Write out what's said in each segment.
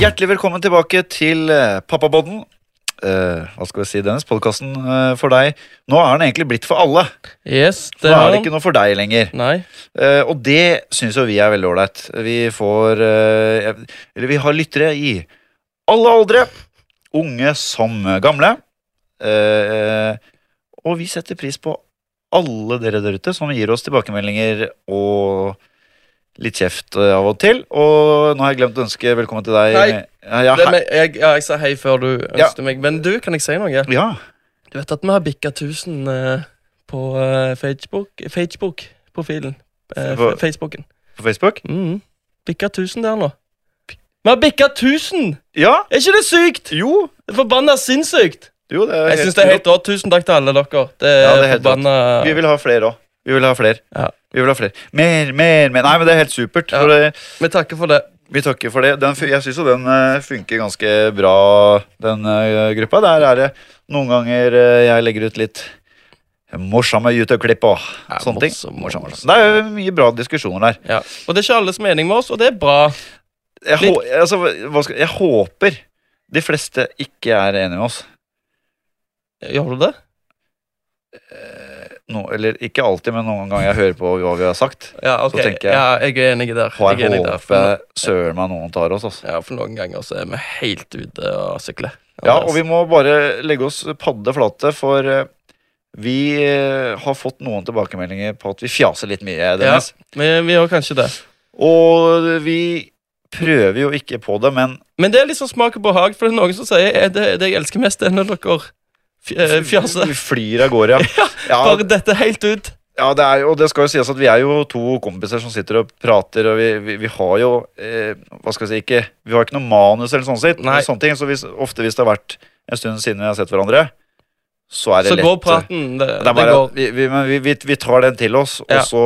Hjertelig velkommen tilbake til eh, Pappabodden. Eh, hva skal vi si, Dennis? Podkasten eh, for deg. Nå er den egentlig blitt for alle. Yes, Nå er det ikke noe for deg lenger. Nei. Eh, og det syns jo vi er veldig ålreit. Vi får eh, jeg- Eller vi har lyttere i alle aldre. Unge som gamle. Eh, og vi setter pris på alle dere der ute som gir oss tilbakemeldinger og litt kjeft eh, av og til. Og nå har jeg glemt å ønske velkommen til deg. Hei. Ja, ja, Det hei. med, jeg, ja, jeg sa hei før du Ja. ønsket meg. Men du, kan jeg si noe? ja. Du vet at vi har bikka 1000 eh, på eh, Facebook Facebook profilen. Eh, Hva? f- Facebooken. På Facebook? Mm. Bikka 1000 der nå. Vi har bikka 1000! Ja. Er ikke det sykt? Jo. Det er forbanna sinnssykt. jo det er Jeg syns det er helt rått. Tusen takk til alle dere. Det er, Ja, det er helt forbanna Vi vil ha flere òg. Vi vil ha flere. Ja. Vi vil ha flere. Mer, mer, mer. Nei, men det er helt supert. Ja. For det, Vi takker for det. vi takker for det. Den, fu- jeg syns jo den eh, funker ganske bra, den eh, gruppa. Der er det noen ganger eh, jeg legger ut litt morsomme YouTube-klipp og Ja, sånne ting. morsomme, Morsomme, morsomme. Det er jo mye bra diskusjoner der. Ja. Og det er ikke alles mening med oss, og det er bra. Jeg, Litt- hå, altså, hva skal, jeg håper de fleste ikke er enige med oss. Gjør du det? No, eller ikke alltid, men noen ganger jeg hører på hva vi har sagt. Ja, ok. tenker jeg- Ja, jeg er enig der. Og Jeg jeg er enig der. For- håper søren meg noen tar oss. Altså. Ja, for noen ganger så er vi helt ute og sykler. Ja, og vi må bare legge oss padde flate, for eh, vi eh, har fått noen tilbakemeldinger på at vi fjaser litt mye. Dennis. altså. vi, vi gjør kanskje det. Og vi prøver jo ikke på det, men Men det er liksom smak og behag, for det er noen som sier eh, det, det jeg elsker mest, er når dere fj- eh, fjaser. vi flyr av gårde. Ja. Ja, Bare dette helt ut. ja, det er, jo- og det skal jo sies at vi er jo to kompiser som sitter og prater, og vi, vi, vi har jo eh, Hva skal jeg si ikke, Vi har ikke noe manus eller sånn sitt, Nei. sånne ting, så hvis, ofte hvis det har vært en stund siden vi har sett hverandre, så er det Så lett eh, går praten. Det, Det er bare, det går. vi, vi, men vi, vi, vi tar den til oss, Ja. og så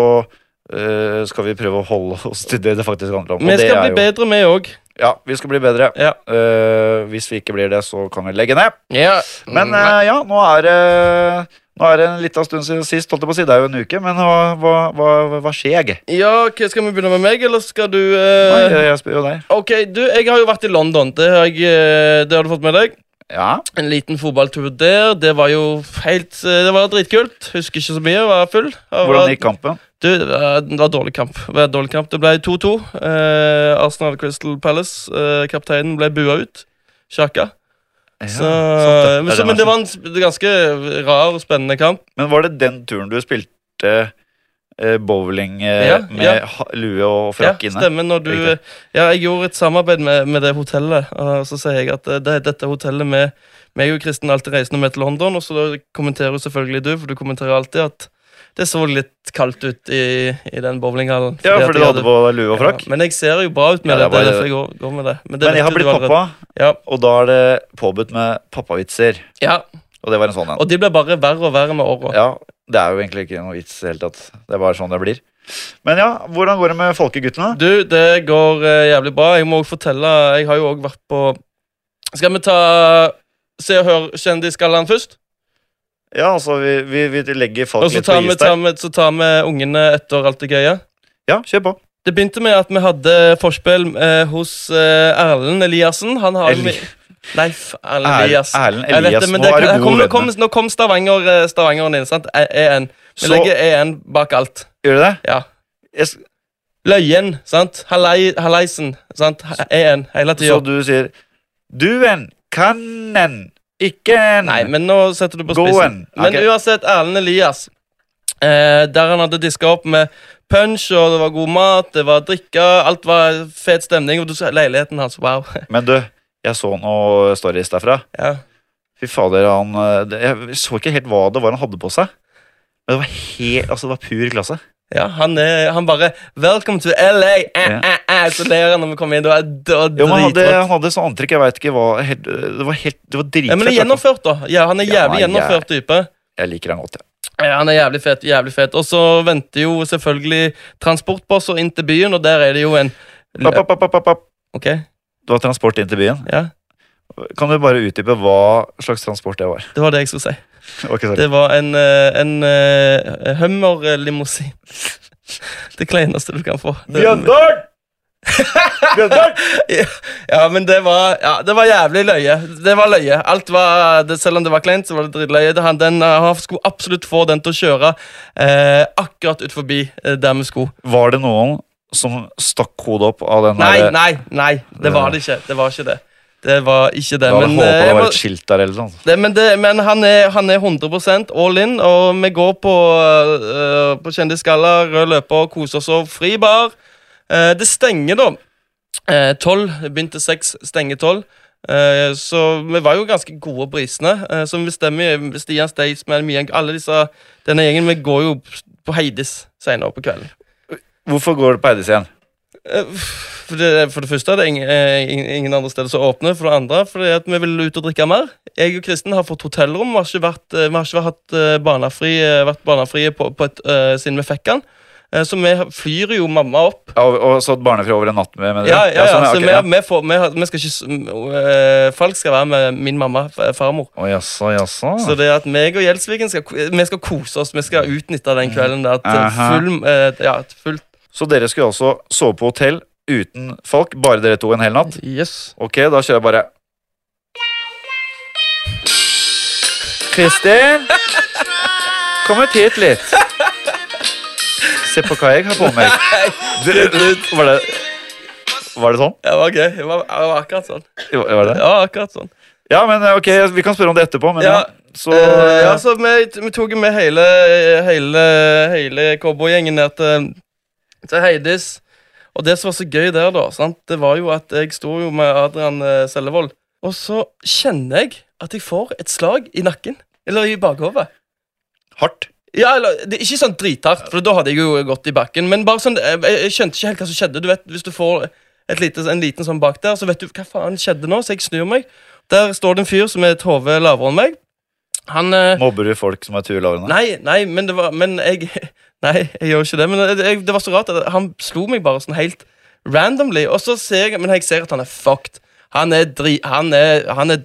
eh, skal vi prøve å holde oss til det det faktisk handler om. Vi og det skal er jo- bli bedre, vi òg. Ja, vi skal bli bedre. Ja. Eh, hvis vi ikke blir det, så kan vi legge ned. Ja. Men Mm, Nei. eh, ja, nå er det nå er det en liten stund siden sist. holdt jeg på å si, Det er jo en uke, men hva, hva, hva, hva skjer? jeg? Ja, ok, Skal vi begynne med meg, eller skal du Nei, eh, jeg spør jo deg. Ok, du, jeg har jo vært i London. Det har, jeg, eh, det har du fått med deg. Ja, En liten fotballtur der. Det var jo helt eh, Det var dritkult. Husker ikke så mye. jeg Var full. Jeg var- Hvordan gikk kampen? Du, det var- det var dårlig kamp. Det var dårlig kamp. Det ble 2-2. Eh, Arsenal Crystal Palace. Eh, kapteinen ble bua ut. Sjaka. Ja, Så, sant det. men, Er så, det men matchen? det var en sp- ganske rar og spennende kamp. Men var det den turen du spilte eh, bowling eh, Ja, med ja. ha- lue og Ja, frakk inne? stemmer. Når du, Riktig. ja, jeg gjorde et samarbeid med, med det hotellet. Og så sier jeg at eh, det, dette hotellet med meg og Kristin alltid reiser med til London, og så kommenterer jo selvfølgelig du, for du kommenterer alltid at det så litt kaldt ut i, i den bowlinghallen. Ja, at fordi jeg du hadde på lue og frakk? Ja, men jeg ser jo bra ut med Ja, det. det Det var- er derfor jeg går, går med det. det Men vet jeg har jo du blitt allerede. pappa, Ja. og da er det påbudt med pappavitser. Ja, Og det var en sånn en. Og de blir bare verre og verre med åra. Ja, Det er jo egentlig ikke noe vits i det hele tatt. Det er bare sånn det blir. Men ja, hvordan går det med folkeguttene? Du, det går eh, jævlig bra. Jeg må også fortelle Jeg har jo òg vært på Skal vi ta Se og Hør Kjendisgallaen først? Ja, altså, vi, vi, vi legger folk Og så litt på tar, vi, is der. tar vi, så tar vi ungene etter alt det gøye. Ja, kjør på. Det begynte med at vi hadde forspill eh, hos eh, Erlend Eliassen. Han har jo Eli- med- Nei, f- Erlend Erl- Elias. Erlend Jeg vet Elias, det, men nå det, er du nå, god kom, nå, kom, venn. nå kom Stavanger, eh, Stavangeren inn, sant? E- EN. Vi Så- legger EN bak alt. Gjør du det? Ja. Jeg, s- Løyen, sant? Hallei, halleisen, sant? EN, hele så tida. du sier Duen, kannen, ikke en, Nei, men nå setter du på spissen. gåen. Men Ok. uansett, Erlend Elias, eh, der han hadde diska opp med punch, og det var god mat, det var drikke, alt var fet stemning, og du så leiligheten hans, wow. Men du, jeg så noe stories derfra. Ja. Fy fader, han eh, det- Jeg så ikke helt hva det var han hadde på seg. Men det var helt, altså det var pur klasse. Ja, han, er, han bare 'Welcome to LA!' Eh, eh, eh, så ler han når vi kommer inn. Det var, det var Jo, men han hadde, dritrått. han hadde sånn antrekk, jeg vet ikke hva helt, Det var helt, det var Ja, dritfett. altså. men det er gjennomført, da. Ja, han er Ja, jævlig han er gjennomført type. Jeg liker han godt, jeg. Ja, han er jævlig fet. jævlig fet Og så venter jo selvfølgelig transportbosser inn til byen, og der er det jo en App, app, app, app, app, app. Ok, Det var transport inn til byen. ja, Kan du bare utdype hva slags transport det var? Det var det jeg skulle si. Ok, sorry. Det var en, eh, en eh, Hummer-limousin. Det kleineste du kan få. Det- Bjørndalen! Bjørnbjørn! Ja, men det var, ja, det var jævlig løye. Det var løye. Alt var, det, selv om det var kleint, så var det drittløye. Det- Han, den, eh, han skulle absolutt få den til å kjøre eh, akkurat ut forbi eh, der vi skulle. Var det noen som stakk hodet opp av den Nei, der- nei, nei. Det var det ikke. Det var ikke det. Det var ikke det. Da hadde jeg Men, håpet eh, det jeg var må- et skilt der eller noe. det, men, det, men han, er, han er 100 all in, og vi går på, uh, på kjendisgalla, rød løper, koser oss og fri bar. Eh, det stenger, da. Eh, Tolv. begynte seks, stenger tolv. Eh, så vi var jo ganske gode på prisene. Eh, som bestemmer Stian Staysman, Mie- alle disse Denne gjengen, vi går jo på Heidis senere på kvelden. Hvorfor går det på Heidis igjen? Eh, For det, for det første er det ingen, eh, ingen- ingen andre steder som åpner. For det andre fordi at vi vil ut og drikke mer. Jeg og Kristin har fått hotellrom. Vi har ikke vært, eh, vi har ikke hatt eh, barnefri, eh, vært barnefrie på, på et, eh, siden vi fikk den. Eh, Så vi har- flyr jo mamma opp. Ja, Og, og satt barnefri over en natt med, med dere? Ja, altså, ja, ja, sånn, så ok, vi, vi, får, vi, har- vi skal ikke s- m- eh, Falk skal være med min mamma, f- farmor. Å, jaså, jaså. Så det at meg og Gjelsviken skal, ko- vi skal kose oss. Vi skal utnytte den kvelden der til Aha. full, eh, ja, til fullt. Så dere skulle altså sove på hotell uten folk, bare dere to en hel natt? Yes. Ok, da kjører jeg bare Kristin! Kom ut hit litt. Se på hva jeg har på meg. Du, du, var, det, var det sånn? Det var gøy. Det var, det var akkurat sånn. Var var det? Ja, akkurat sånn. Ja, men ok, vi kan spørre om det etterpå, men ja. Ja. Så Eh, ja, så vi, vi tok med hele, hele, hele cowboygjengen ned til, til Heidis. Og det som var så gøy der, da, sant? det var jo at jeg sto jo med Adrian eh, Sellevold. Og så kjenner jeg at jeg får et slag i nakken. Eller i bakhodet. hardt. Ja, eller, det er Ikke sånn drithardt, for da hadde jeg jo gått i bakken. Men bare sånn, jeg, jeg skjønte ikke helt hva som skjedde. Du vet, Hvis du får et lite, en liten sånn bak der, så vet du hva faen skjedde nå. Så jeg snur meg. Der står det en fyr som er et hode lavere enn meg. Han eh, Mobber du folk som er turlaverne? Nei, nei, men det var Men jeg Nei, jeg gjør ikke det. Men det- jeg, det var så rart. at Han slo meg bare sånn helt randomly. Og så ser jeg Men jeg ser at han er fucked. Han er dri... Han er, han er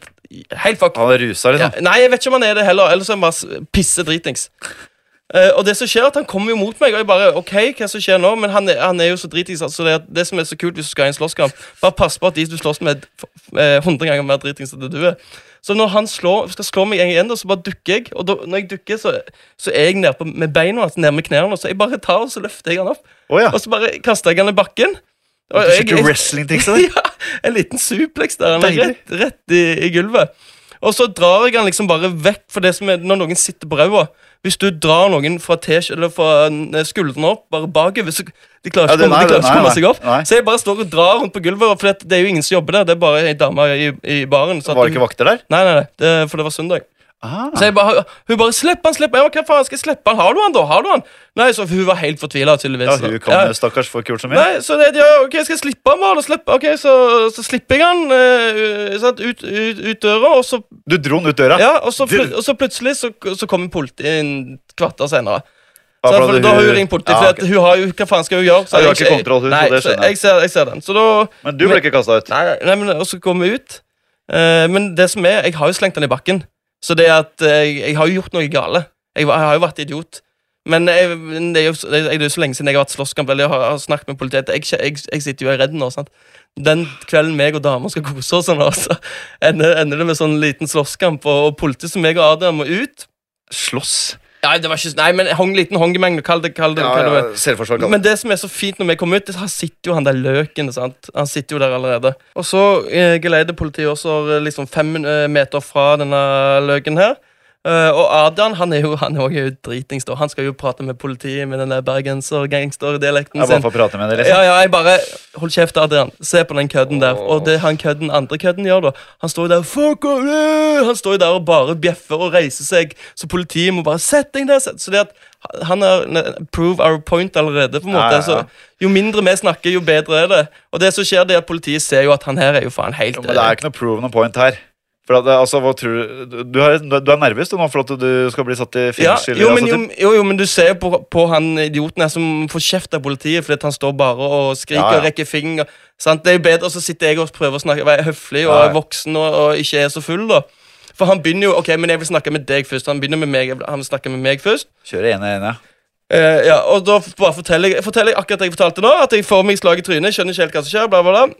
helt fucked. Han er rusa, Ja, liksom? nei, jeg vet ikke om han er det heller. Ellers er han bare s- pisse dritings. Eh, og det som skjer er at Han kommer jo mot meg, og jeg bare OK, hva som skjer nå? Men han er, han er jo så dritings. Altså det, er- det som er så kult hvis du skal i en slåsskamp, bare pass på at de du slåss med, er f- eh, 100 ganger mer dritings enn det du er. Så når han slår, skal slå meg en igjen, da, så bare dukker jeg. Og da, når jeg dukker, så, så er jeg nede på- med beina hans, nede med knærne. Så jeg bare tar og så løfter jeg han opp, Å ja. og så bare kaster jeg han i bakken. Og Du jeg- skikkelig jeg- wrestlingtrikset der? ja, en liten suplex der. Han er Deilig. rett, rett i, i gulvet. Og så drar jeg han liksom bare vekk for det som er når noen sitter på ræva. Hvis du drar noen fra T-skj- eller fra eh, skuldrene opp, bare bakover, så de klarer Ja, ikke det- nei, å komme- de klarer ikke å nei, komme nei, seg opp. nei. Så jeg bare står og drar rundt på gulvet, for det, det er jo ingen som jobber der. Det er bare ei dame i, i baren. Så at Var det ikke vakter der? hun- Nei, nei, nei, det, for det var søndag. Ah. Så jeg bare, hun bare 'Slipp han, slipp han!' Jeg bare, 'Hva faen, skal jeg slippe han? Har du han, da?' Har du han? Nei, så Hun var helt fortvila, tydeligvis. Ja, hun kan jo stakkars få kult så mye. Nei, så det, ja, ok, skal jeg slippe han bare? Da slipp- ok, så, så slipper jeg han eh, sant, ut, ut, ut døra, og så, Du dro den ut døra. ja, og så, Du- plut- og så plutselig så, så kommer politiet inn et kvarter senere. Ja, Så for for at da har hun hun- ringt politiet, Ja, for ok. at hun har jo, hva faen skal hun Ja, gjøre? hun har jeg- ikke kontroll, hun, så nei, det skjønner jeg. jeg. ser, jeg ser den. Så da, Men du ble ikke kasta ut. nei, nei, men, og så kommer vi ut. Eh, men det som er, jeg har jo slengt den i bakken. Så det at eh, jeg, jeg har jo gjort noe gale. Jeg, var- jeg har jo vært idiot. Men jeg, men det er jo så- det er det er jo så lenge siden jeg har vært slåsskamp eller jeg har, har snakket med politiet. at Jeg, ikke- jeg, jeg sitter jo og er redd nå. sant? Den kvelden meg og dama skal kose oss, sånn, altså, ender, ender det med sånn liten slåsskamp, og, og politiet som meg og Adrian må ut Slåss. Nei, det var ikke, nei men hong, liten hongemengde, kall det kall det, kall det, Selvforsvar. men det som er så fint når vi kommer ut, det er- her sitter jo han der løken. sant? Han sitter jo der allerede. Og så eh, geleider politiet også eh, liksom fem min- eh, meter fra denne løken her. Eh, og Adrian han er jo han er jo dritings. da. Han skal jo prate med politiet med den der bergenser-gangsterdialekten Jeg bare sin. får prate med deg, liksom. Ja, ja, jeg bare Hold kjeft, Adrian. Se på den kødden der. Og det han kødden, andre kødden gjør, da Han står jo der Fuck off, øh!» Han står jo der og bare bjeffer og reiser seg, så politiet må bare Sett deg ned! sett-» Så det at han har ne- prove our point allerede, på en Ja, måte. ja, ja. Så jo mindre vi snakker, jo bedre er det. Og det som skjer, det er at politiet ser jo at han her er jo faen helt Jo, men det eh, er ikke noe proven og point her. For at, det- altså, hva tror Du du- du er, du er nervøs du nå for at du skal bli satt i ja, fengsel? jo, men, altså, jo, typ. jo, jo, men du ser jo på, på han idioten her som får kjeft av politiet fordi at han står bare og skriker Ja, ja. og rekker finger. Sant? Det er jo bedre, Og så sitter jeg og prøver å snakke, være høflig og Ja, ja. er voksen og, og ikke er så full. da For han begynner jo Ok, men jeg vil snakke med deg først. Han begynner med meg, jeg vil- han vil snakke med meg først. Kjøre ene ene. Eh, ja, og da f- bare forteller jeg, forteller jeg akkurat det jeg fortalte nå, at jeg får meg slag i trynet. skjønner ikke helt hva som skjer, bla bla bla.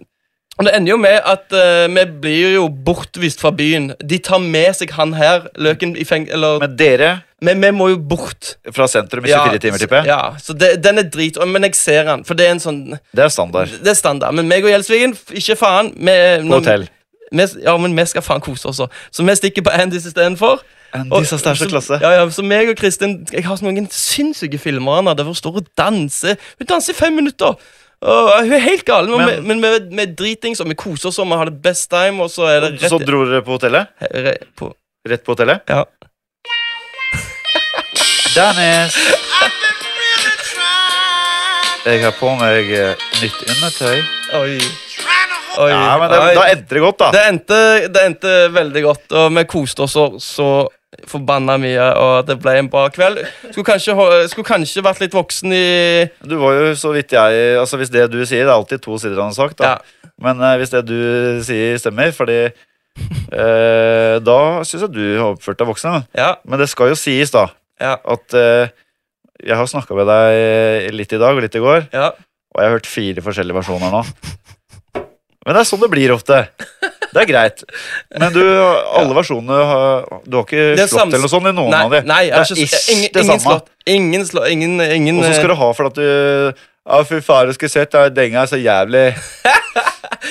Og det ender jo med at eh, vi blir jo bortvist fra byen. De tar med seg han her, løken i feng... Eller, Men dere men vi må jo bort. fra sentrum i 24 timer, så- tipper jeg. Ja, så det, den er drit, og- men jeg ser den, for det er en sånn Det er standard. Det er standard. Men meg og Gjelsvigen, f- ikke faen. Vi, På hotell. Vi, ja, men vi skal faen kose oss, også. så vi stikker på Andys istedenfor. Og- Andy Sasters er klasse. Ja, ja, så meg og Kristin Jeg har så noen sinnssyke filmer han hadde, hvor hun står og danser. Hun danser i fem minutter! Og hun er helt gal, men, Men- vi- men vi- vi er dritings, og vi koser oss, og vi har det best time, og så er det rett Så dro dere på hotellet? re, på, Rett på hotellet? Ja. Dennis! Jeg har på meg eh, nytt undertøy. Oi. Oi. Ja, men det, Oi. Da endte det godt, da. Det endte, det endte veldig godt, og vi koste oss så- så forbanna mye. Og det ble en bra kveld. Skulle kanskje, ho- skulle kanskje vært litt voksen i Du var jo så vidt jeg Altså Hvis det du sier, det er alltid to sider av en sak, da. ja, Men eh, hvis det du sier, stemmer, fordi eh, Da syns jeg du har oppført deg voksen. da. ja, Men det skal jo sies, da, Ja. at eh, jeg har snakka med deg litt i dag og litt i går, ja. og jeg har hørt fire forskjellige versjoner nå. Men det er sånn det blir ofte. Det er greit. Men du, alle versjonene har, Du har Det er ikke sams- slått eller noe sånt i noen av Nei, dem. nei jeg har Det er ikke, ish ingen, det ingen samme. slått. Ingen slå, ingen, ingen Og så skal du ha for at du Ja, fy faen, du skulle sett, da, den gangen er så jævlig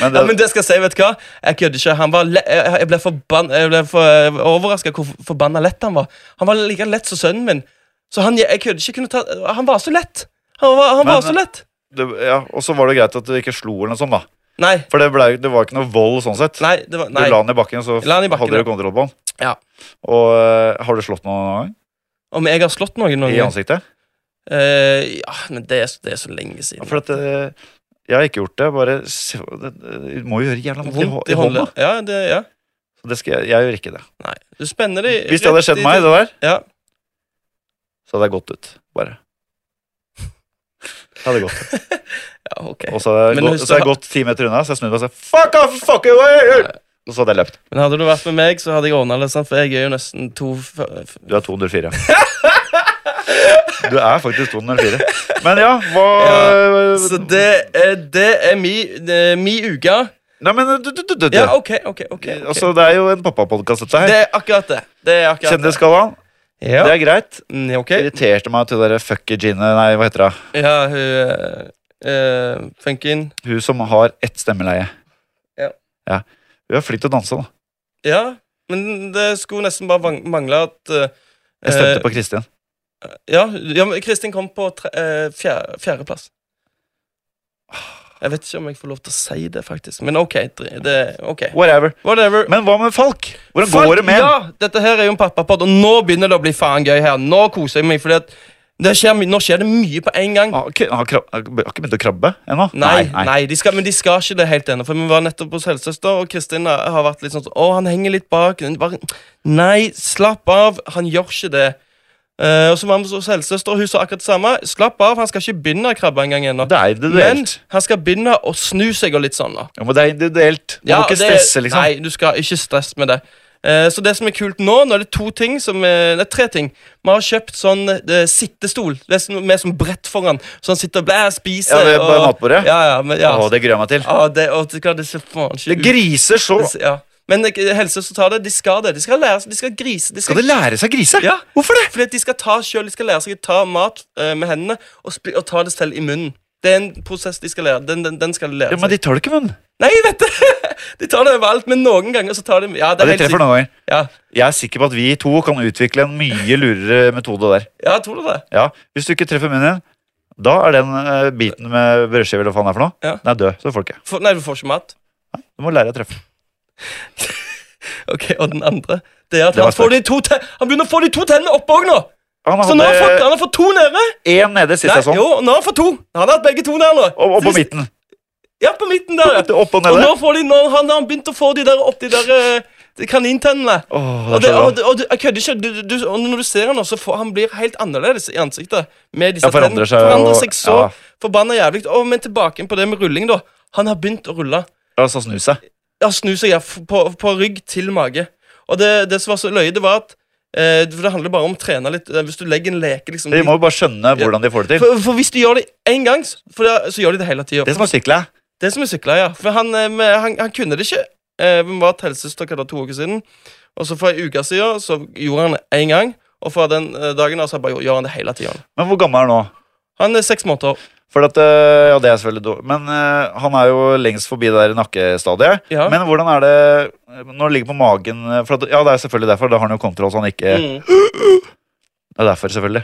Men det, ja, men det skal jeg si, vet du hva? Jeg kødder ikke. Han var le jeg jeg ble, forbann- jeg ble for overraska hvor forbanna lett han var. Han var like lett som sønnen min. Så han, jeg kødder ikke. Kunne ta, han var så lett. Han var, han var Men- så lett. det- ja, Og så var det greit at du ikke slo eller noe sånt, da. Nei, For det, ble, det var ikke noe vold sånn sett. nei, det var, Du nei. la den i bakken, og så La den i bakken, hadde ja. du kontroll på den. Ja. Og øh, har du slått noen gang? Om jeg har slått noen noen I gang? ansiktet? Eh, ja, men det er, det er så lenge siden. Ja, for at, øh, jeg har ikke gjort det. Bare se, det, det må jo gjøre jævla vondt i, hå- Vondt i hånda. Ja, det, ja. Så Det skal, jeg- jeg gjør ikke det. Nei, du spenner det Hvis det hadde skjedd meg, det der, Ja. så hadde jeg gått ut. Bare. Jeg hadde gått. Ja, ok. Og så hadde jeg, Men gått, hvis så hadde du jeg gått ti meter unna, så jeg snudde meg og sa fuck off, fuck away! Og så hadde jeg løpt. Men hadde du vært med meg, så hadde jeg ordna det, sant, for jeg er jo nesten to f- f- Du er 204. Du er faktisk 204. Men ja, hva Så det er, det er mi, det er mi uke. Nei, men du, du, du, du. Ja, OK, OK. ok, ok. Altså, det er jo en pappapodkast, dette her. Det er akkurat det. Det er akkurat Kjendisgallaen. det. Ja. Det er greit. Mm, ok. Irriterte meg til dere fucky Gine Nei, hva heter hun? Ja, hun eh, eh, Funkin. Hun som har ett stemmeleie. Ja. Hun er flink til å danse, da. Ja, men det skulle nesten bare van- mangle at eh, Jeg eh, stemte på Kristin. Ja, ja men Kristin kom på tre, eh, fjerde, fjerdeplass. Jeg vet ikke om jeg får lov til å si det, faktisk. Men OK. dri- Det, ok Whatever. Whatever. Men hva med Falk? Hvordan Fuck, går det med Ja, dette her er jo en pappapod, og nå begynner det å bli faen gøy her. Nå koser jeg meg, fordi at det skjer, my- nå skjer det mye på en gang. Har ikke har krab- har ikke begynt å krabbe ennå? Nei, nei, de skal, men de skal ikke det helt ennå. For vi var nettopp hos helsesøster, og Kristin har har vært litt sånn sånn, Å, han henger litt bak. Hun Bare, nei, slapp av. Han gjør ikke det. Eh, og så var vi hos helsesøster, og hun sa akkurat det samme. Slapp av, han skal ikke begynne å krabbe engang ennå. Det er Men individuelt. han skal begynne å snu seg og litt sånn. da Ja, men det er individuelt. Du må Ja, ikke og det- stresse, liksom. Nei, du skal ikke stresse med det. Eh, så det som er kult nå, nå er det to ting som eh, Nei, tre ting. Vi har kjøpt sånn eh, sittestol. Det er sånn, med sånn brett foran, så han sitter og blæ, spiser. Ja, det er bare og- matbordet. Ja, ja, men, ja. Å, det gruer jeg meg til. Ja, det, og, det, det ser faen Det ikke ut. griser så Det ser- ja. Men eh, helse som tar det, de skal det. De skal lære seg, de skal grise. De skal, Skal det lære seg å grise? Ja. Hvorfor det? Fordi at de skal ta selv, de skal lære seg å ta mat eh, med hendene og, spi- og ta det selv i munnen. Det er en prosess de skal lære. Den, den, den skal de lære Ja, men seg. de tar det ikke i munnen. Nei, jeg vet det! De tar det overalt, men noen ganger så tar de Ja, Ja, det de er helt treffer sykt. noen ganger. Ja. Jeg er sikker på at vi to kan utvikle en mye lurere metode der. Ja, tror du det? Ja, Hvis du ikke treffer munnen din, da er den eh, biten med brødskive eller hva faen det er for noe, Ja. den er død. Så det får du ikke. For, nei, du får ikke mat. Du må lære å treffe. Ok, Og den andre Det er at Det var han, får de to te han begynner å få de to tennene oppe òg nå! Han Så nå har han fått, hadde han har fått to nede. én nede sist Nei, jeg så jo, den, nå har han fått to. Han har hatt begge to der nå. sånn. og, og på Sist- midten. Ja, på midten der. ja. Opp og Og nede. nå får de, nå har han, han begynt å få de der opp de der eh, de kanintennene. Åh, det Og, det, er så og, bra. det- og du, jeg kødder ikke. Du, du, du, og når du ser han nå, så får han blir helt annerledes i ansiktet. Med disse Ja, forandrer seg, tennene. forandrer og- seg så ja. forbanna jævlig. Å, men tilbake på det med rulling, da. Han har begynt å rulle. Altså snuse. Ja, snu seg ja, f- på, på rygg til mage. Og det, det som var så løye, det var at Eh, for Det handler bare om å trene litt. Eh, Hvis du legger en leke liksom, De må jo bare skjønne hvordan de får det til. for, for hvis du gjør det én gang, så, for da, så gjør de det hele tida. Det som er sykla Det som er sykla, ja. For han, eh, med- han, han kunne det ikke. Eh, Vi var til helsesøster hva da, to uker siden, og så for ei uke siden så gjorde han det én gang. Og fra den eh, dagen av så har jeg bare gjør han det hele tida. Men hvor gammel er han nå? Han er seks måneder. For at, øh, ja, det er selvfølgelig dårlig. Men øh, han er jo lengst forbi det der nakkestadiet. Ja. Men hvordan er det øh, når han ligger på magen øh, for at, Ja, det er selvfølgelig derfor. Da har han jo kontroll, så han ikke Mm. Det er derfor, selvfølgelig.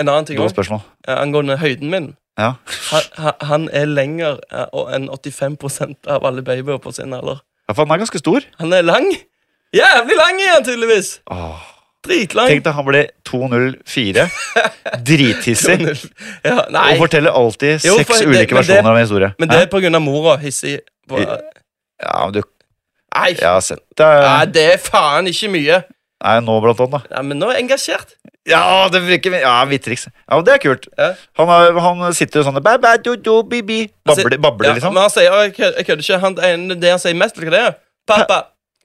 En annen ting Godt også, spørsmål. eh, angående høyden min. Ja. Han, han- han er lenger eh, og- enn 85 av alle babyer på sin alder. ja, for han er ganske stor. Han er lang. Jævlig lang er han tydeligvis. Åh. Dritlang. Tenk deg, han ble 204. Drithissig. Ja, Og nei. forteller alltid Jo, for seks det- ulike men det- versjoner av en historie. Men det er på grunn av mora. Hissig. På, I- Ja, men du, nei, jeg har sett deg nei, det er faen ikke mye. Nei, nå blant annet, da. Nei, men nå er jeg engasjert. Ja, det virker Ja, Vitrix. Ja, men det er kult. Ja. Han, er, han sitter jo sånn bæ, bæ, do, do, bi, bi. Babler, babler Altså, Ja, liksom. Men han sier, «Å, jeg kødder jeg kødder ikke. Han, en- det han sier mest, vet du hva det er? Pappa.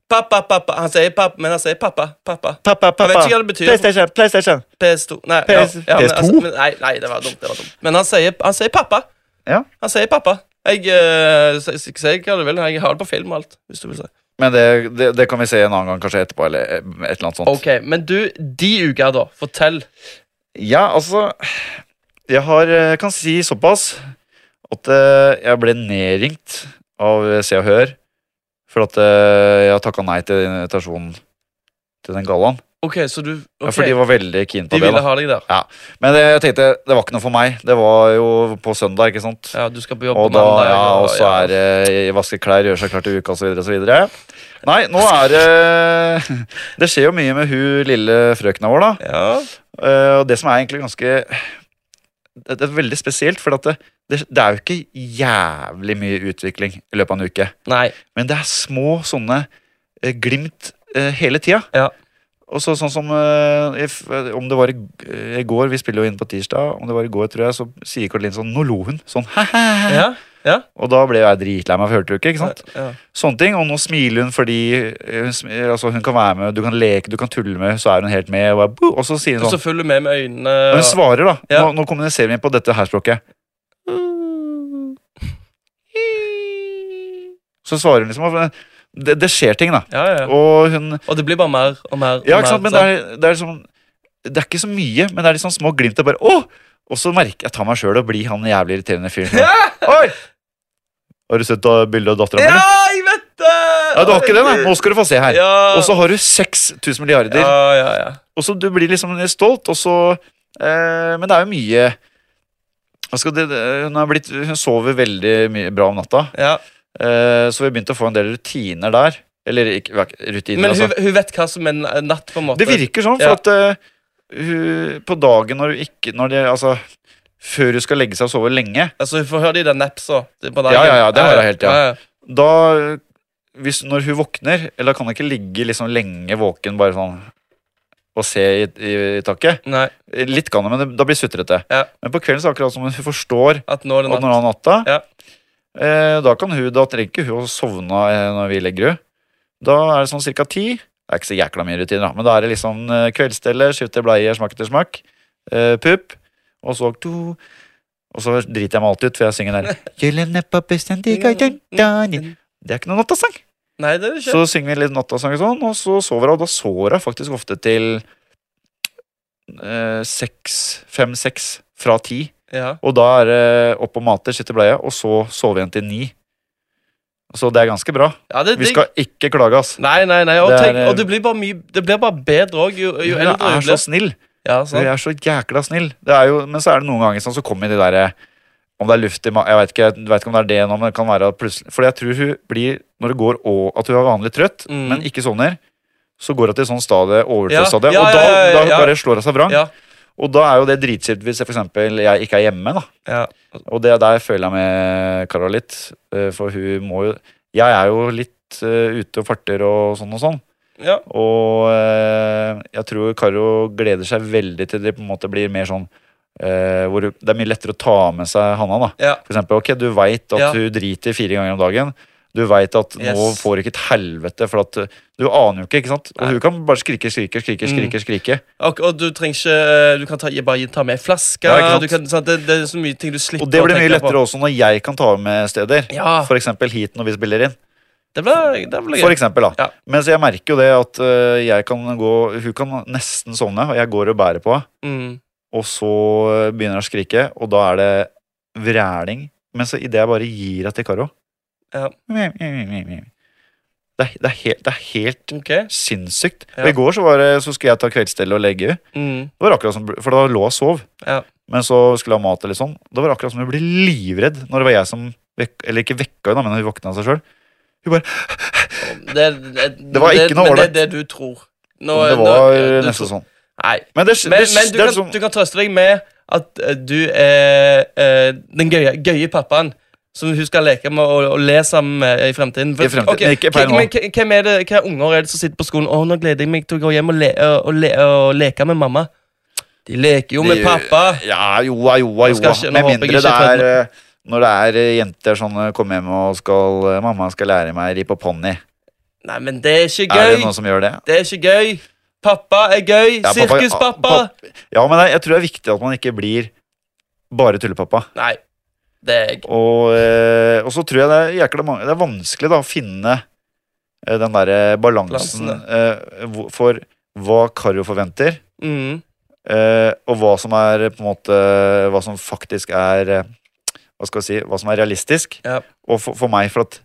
Pappa, pappa. Han sier pappa, men han sier pappa. Pappa. Pappa, pappa. Jeg vet ikke hva det betyr. PlayStation, PlayStation. PS2. Nei, PS ja, ja, men, PS2? altså, men, nei, nei, det var dumt. det var dumt Men han sier, han sier pappa. Ja. Han sier pappa. Jeg uh, sier hva du vil. Jeg har det på film og alt. Hvis du vil si. Men det, det, det kan vi se en annen gang, kanskje etterpå, eller eh, et eller annet sånt. Ok, Men du, de uker, da. Fortell. Ja, altså Jeg har, eh, kan si såpass at eh, jeg ble nedringt av eh, Se og Hør for at eh, jeg takka nei til den invitasjonen til den gallaen. Ok, så du Ja, ok, For de var veldig keen på De det. ville da ha deg der. Men det, jeg tenkte, det var ikke noe for meg. Det var jo på søndag, ikke sant. Ja, du skal på jobb Og på da, mandag. ja, og så er det eh, vaske klær, gjøre seg klar til uka osv. osv. Nei, nå er det Det skjer jo mye med hun lille frøkna vår, da. ja. Eh, Og det som er egentlig ganske Det det er veldig spesielt, for at det, det, det er jo ikke jævlig mye utvikling i løpet av en uke. Nei. Men det er små sånne eh, glimt eh, hele tida. Ja. Og så sånn som eh, if, eh, Om det var i, g- eh, i går, vi spiller jo inn på tirsdag, om det var i går, tror jeg, så sier Caroline sånn Nå lo hun! Sånn «Haha». Ja. Og da ble jeg dritlei meg for hørte du ikke, ikke sant? Ja. Sånne ting. Og nå smiler hun fordi eh, hun, sm- eh, altså, hun kan være med, du kan leke, du kan tulle med, så er hun helt med. Og, bare, «Boo!» og så sier hun Og så sånn. følger du med med øynene. Og hun svarer, da. Ja. Nå, nå kommuniserer vi på dette her språket. Så svarer hun liksom og det, det skjer ting, da. Ja, ja. Og hun Og det blir bare mer og mer. Ja, og ikke sant, mer, men det er, det er liksom Det er ikke så mye, men det er litt sånn små glimt. Og bare, åh! Og så merker jeg tar meg sjøl og blir han jævlig irriterende fyren. Oi! Har du sett da bildet av dattera mi? Ja, jeg vet det! Ja, du har ikke det, nei. Nå skal du få se her. Ja. Og så har du 6000 milliarder. Ja, ja, ja. Og så du blir liksom litt stolt, og så eh, Men det er jo mye hva skal det, eh, hun, har blitt, hun sover veldig mye bra om natta, ja. eh, så vi har begynt å få en del rutiner der. Eller ikke rutiner, Men altså. hun, hun vet hva som er na- natt, på en måte. Det virker sånn, for Ja. at eh, hun, på dagen når hun ikke når det, Altså, før hun skal legge seg og sove lenge, Altså, Hun får høre de der napsa på dagen. Ja, ja, ja, det har jeg helt, ja. ja. da eh, hvis, Når hun våkner, eller kan hun ikke ligge liksom lenge våken bare sånn og se i, i, i taket. Nei, Eh, Litt kan hun, men det, da blir det sutrete. Ja. Men på kvelden så er det akkurat som hun forstår at nå er det at natt. når han er natta Ja. eh, Da kan hun, da trenger ikke hun å sovne eh, når vi legger henne. Da er det sånn cirka ti. Det er ikke så jækla mye rutiner, da, men da er det liksom eh, kveldsstelle, skifte bleier, smak etter smak, eh, pupp, og så to Og så driter jeg meg alltid ut, for jeg synger den der «Gyllene på bussen, de går rundt og rundt». Det er ikke altså. noen nattasang. Nei, det er det ikke. Så synger vi litt nattasang og sånn, og så sover hun. Og da sover hun faktisk ofte til eh, seks, fem-seks fra ti. Ja. Og da er det opp og mater, sitte i bleia, og så sove igjen til ni. Så det er ganske bra. ja, det er Vi digg. skal ikke klage, ass. Nei, nei, nei. Og, Det er, tenk, og eh, det blir bare mye Det blir bare bedre òg, jo, jo Hun eldre er du så blir. snill. Ja, Hun sant. er så jækla snill. Det er jo, men så er det noen ganger sånn, så kommer de derre Om det er luft i ma... Jeg veit ikke, jeg vet ikke om det er det nå, men det kan være at plutselig For jeg tror hun blir, når det går og At hun er vanlig trøtt, Mm. men ikke sovner. Så går hun til sånn stadie, Ja, overfølelsesstadie, ja, og da, ja, ja, da hun ja. bare slår hun seg vrang. Ja. Og da er jo det dritkjipt hvis jeg for eksempel jeg ikke er hjemme, da. Ja. Og det der føler jeg med Kara litt. eh, For hun må jo Jeg er jo litt eh, ute og farter og sånn og sånn. ja. Og eh, jeg tror Karo gleder seg veldig til det på en måte blir mer sånn eh, hvor det er mye lettere å ta med seg Hanna. da Ja. For eksempel, ok, Du veit at Ja. hun driter fire ganger om dagen, Du veit at nå Yes. får ikke et helvete, for at eh, du aner jo ikke. ikke sant? Nei. Og hun kan bare skrike, skrike, skrike. Mm. skrike, skrike. Og, og du trenger ikke eh, Du kan ta, bare ta med flasker. Ja, ikke sant? du kan, sant? Det, det er så mye ting du slipper Og det å blir mye tenke på. lettere også når jeg kan ta med steder. Ja, For eksempel hit når vi spiller inn. det blir, det blir For gøy. eksempel, da. Ja. Mens jeg merker jo det at eh, jeg kan gå Hun kan nesten sovne, og jeg går og bærer på henne. Mm. Og så eh, begynner hun å skrike, og da er det vræling. Men så idet jeg bare gir henne til Karo Ja. Det er, det, er helt, det er helt Ok. sinnssykt. Ja. Og I går så, var det, så skulle jeg ta kveldsstellet og legge henne. Mm. Det var akkurat som, For da lå hun og sov. Ja. Men så skulle hun ha mat, eller sånn. Da var det akkurat som hun ble livredd når det var jeg som vek, Eller ikke vekka henne, da, men hun våkna av seg sjøl. Det, det, Det var ikke noe men ålreit. Det er det du tror. Nå- Det nå- var du nesten tror- sånn. Nei. Men, det, det, Men, det, men du, er kan, sånn- du kan trøste deg med at eh, du er eh, den gøye, gøye pappaen. Som hun skal leke med og, og le sammen med i fremtiden. I fremtiden, Ok, men ikke per nå. men k- Hvem er det, hva unger er det som sitter på skolen Å, nå gleder jeg meg til å gå hjem og, le, og, le, og leke med mamma? De leker jo De med gjør- pappa. Ja, joa, joa, Nå skal joa. jeg ikke- nå Med håper jeg mindre ikke det jeg er eh, Når det er eh, jenter sånn eh, Kom hjem og skal eh, Mamma skal lære meg å ri på ponni. Nei, men det er ikke Er det gøy. noen som gjør det? Det er ikke gøy. Pappa er gøy. Ja, pappa- Sirkuspappa. ah, papp- Ja, men jeg, jeg tror det er viktig at man ikke blir bare tullepappa. Nei, det er jeg. Og, eh, og så tror jeg det er, jækla mange, det er vanskelig da å finne eh, den derre balansen Balansen, eh, hvor- for hva Karo forventer, Mm. eh, og hva som er eh, på en måte Hva som faktisk er eh, Hva skal jeg si Hva som er realistisk. Ja. Og for, for meg, for at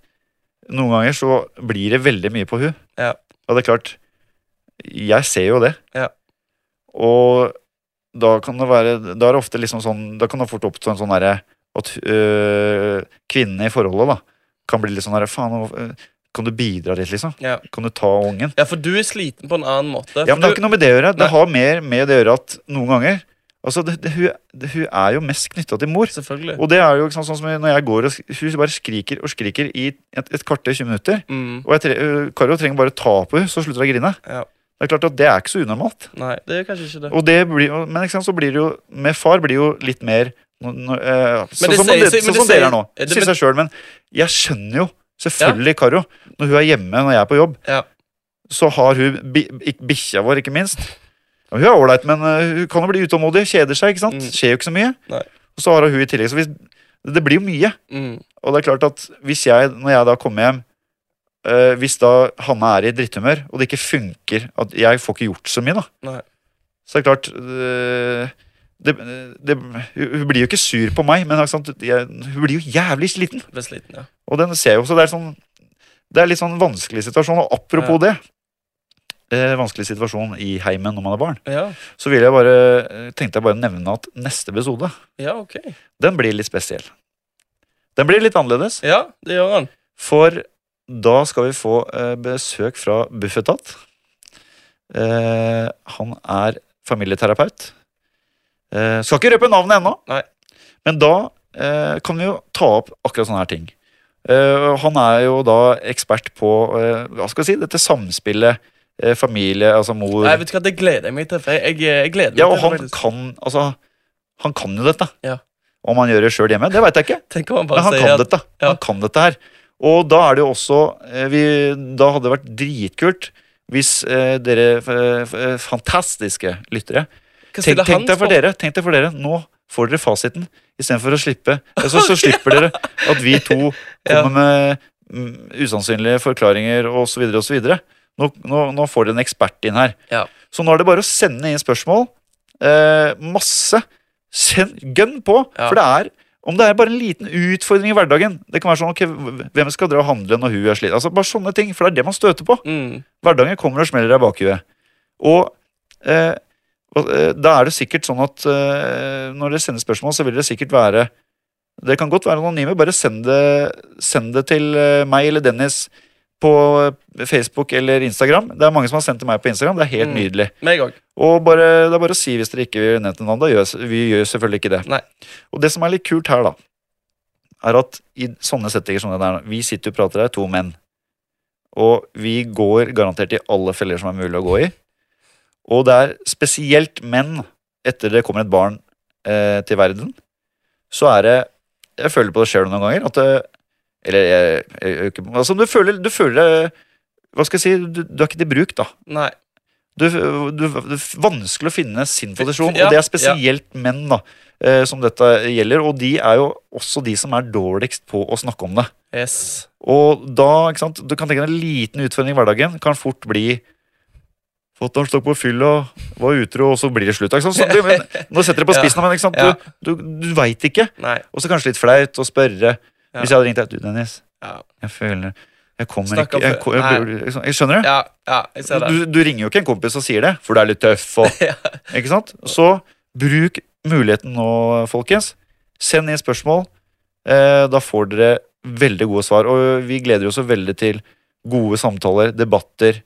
noen ganger så blir det veldig mye på hun. Ja. Og det er klart, jeg ser jo det. Ja. Og da kan det være Da er det ofte liksom sånn Da kan det fort oppstå en sånn derre At øh, kvinnene i forholdet da kan bli litt sånn derre Faen, nå, øh, kan du bidra litt, liksom? Ja. Kan du ta ungen? ja, for du er sliten på en annen måte. Ja, men Det har for du, ikke noe med det å gjøre. Det Nei. har mer med det å gjøre at noen ganger Altså, det, det, hun, det, hun er jo mest knytta til mor. selvfølgelig. Og det er jo ikke sant, sånn som når jeg går og sk- Hun bare skriker og skriker i et, et kvarter, 20 minutter. Mm. Og jeg tre, øh, Karo trenger bare ta på henne, så slutter hun å grine. Ja. Det er klart at det er ikke så unormalt. Nei, det er kanskje ikke det. Og det blir, og- men ikke sant, så blir det jo Med far blir det jo litt mer nå- nå- eh, Sånn det som, sier- det, sier- men sånn det som dere er nå. sier- det- Sier men- seg selv, men jeg skjønner jo selvfølgelig Karo. Når hun er hjemme når jeg er på jobb, Ja. så har hun bi- ik- bikkja vår, ikke minst. Ja, hun er ålreit, men øh, hun kan jo bli utålmodig. Kjeder seg. ikke sant? Mm. Skjer jo ikke så mye. Nei. Og så har hun i tillegg. Så hvis, det blir jo mye. Mm. Og det er klart at hvis jeg, når jeg da kommer hjem eh, Hvis da Hanna er i dritthumør, og det ikke funker At jeg får ikke gjort så mye, da. Nei. Så det er klart eh, det, det, Hun blir jo ikke sur på meg, men ikke sant, jeg, hun blir jo jævlig sliten. Ble sliten, ja. Og den ser jeg jo, så det er sånn Det er litt sånn vanskelig situasjon. Og apropos det eh, Vanskelig situasjon i heimen når man er barn. Ja, Så vil jeg bare, eh, tenkte jeg bare nevne at neste episode ja ok. den blir litt spesiell. Den blir litt annerledes. Ja, det gjør han. For da skal vi få eh, besøk fra Bufetat. Eh, han er familieterapeut. Eh, skal ikke røpe navnet ennå, Nei. men da eh, kan vi jo ta opp akkurat sånne her ting. Eh, og han er jo da ekspert på eh, hva skal jeg si, dette samspillet eh, familie, altså mor Nei, vet du hva, Det gleder jeg meg til. For jeg, jeg, jeg gleder meg Ja, og til han det, faktisk. kan altså, Han kan jo dette. Ja. Om han gjør det sjøl hjemme, det veit jeg ikke. Tenk om han Men bare han sier kan at dette. ja. Han kan dette her. Og da er det jo også eh, vi, Da hadde det vært dritkult hvis eh, dere f, f, eh, fantastiske lyttere Hva tenk, stiller tenk han deg for spørsmål? dere, tenk deg for dere, nå får dere fasiten. Istedenfor å slippe så, så slipper dere at vi to Ja. kommer med mm, usannsynlige forklaringer osv. osv. Nå, nå, nå får dere en ekspert inn her. Ja. Så nå er det bare å sende inn spørsmål. Eh, masse. Send, gønn på! Ja. For det er om det er bare en liten utfordring i hverdagen Det kan være sånn, ok, Hvem skal dra og handle når hun er sliten? Altså, bare sånne ting, for det er det man støter på. Mm. Hverdagen kommer og smeller deg i bakhuet. Og eh, og, eh, da er det sikkert sånn at eh, når dere sender spørsmål, så vil det sikkert være Det kan godt være anonyme, bare send det, send det til eh, meg eller Dennis på eh, Facebook eller Instagram. Det er mange som har sendt til meg på Instagram. Det er helt Mm. nydelig. Meg òg. Og bare, det er bare å si hvis dere ikke vil nevne et navn. Da gjør, vi gjør selvfølgelig ikke det. Nei. Og det som er litt kult her, da, er at i sånne settinger som det der Vi sitter og prater her, to menn. Og vi går garantert i alle feller som er mulig å gå i. Og det er spesielt menn, etter det kommer et barn eh, til verden, så er det Jeg føler på det sjøl noen ganger, at eh, Eller jeg, jeg, jeg, Altså, du føler, du føler deg Hva skal jeg si? Du, du er ikke til bruk, da. Nei. Du, du, det er vanskelig å finne sin posisjon, Ja, og det er spesielt menn da, eh, som dette gjelder. Og de er jo også de som er dårligst på å snakke om det. Yes. Og da, ikke sant, du kan tenke deg en liten utfordring i hverdagen kan fort bli Fått en stokk på fylla, var utro, og så blir det slutt. Ikke sant? Så, du, men, nå setter det på Ja. spissen, men ikke sant? Ja. du, du, du veit ikke. Nei. Og så kanskje litt flaut å spørre. Ja. Hvis jeg hadde ringt deg Du, Dennis, Ja. jeg føler Jeg kommer Snakk om ikke jeg, ko- jeg, det. blir- jeg, Skjønner du? Ja, ja, jeg ser det. Du, du ringer jo ikke en kompis og sier det, for du er litt tøff. Og, Ja. ikke sant? Så bruk muligheten nå, folkens. Send inn spørsmål. Eh, da får dere veldig gode svar. Og vi gleder oss jo veldig til gode samtaler, debatter.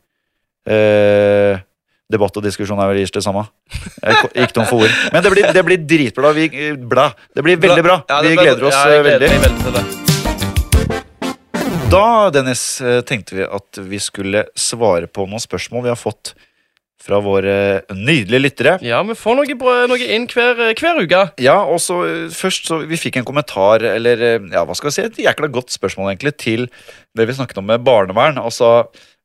Eh, debatt og diskusjon er vel ish det samme. Jeg ko- gikk tom for ord. Men det blir, det blir dritbra. Vi, eh, bla. Det blir veldig bra. Ja, det vi ble- gleder oss ja, jeg eh, veldig. gleder meg veldig til det. Da, Dennis, eh, tenkte vi at vi skulle svare på noen spørsmål vi har fått fra våre nydelige lyttere. Ja, vi får noe, bra, noe inn hver, hver uke. Ja, og så eh, først så vi fikk en kommentar, eller eh, ja, hva skal vi si, et jækla godt spørsmål egentlig, til det vi snakket om med barnevern. Altså,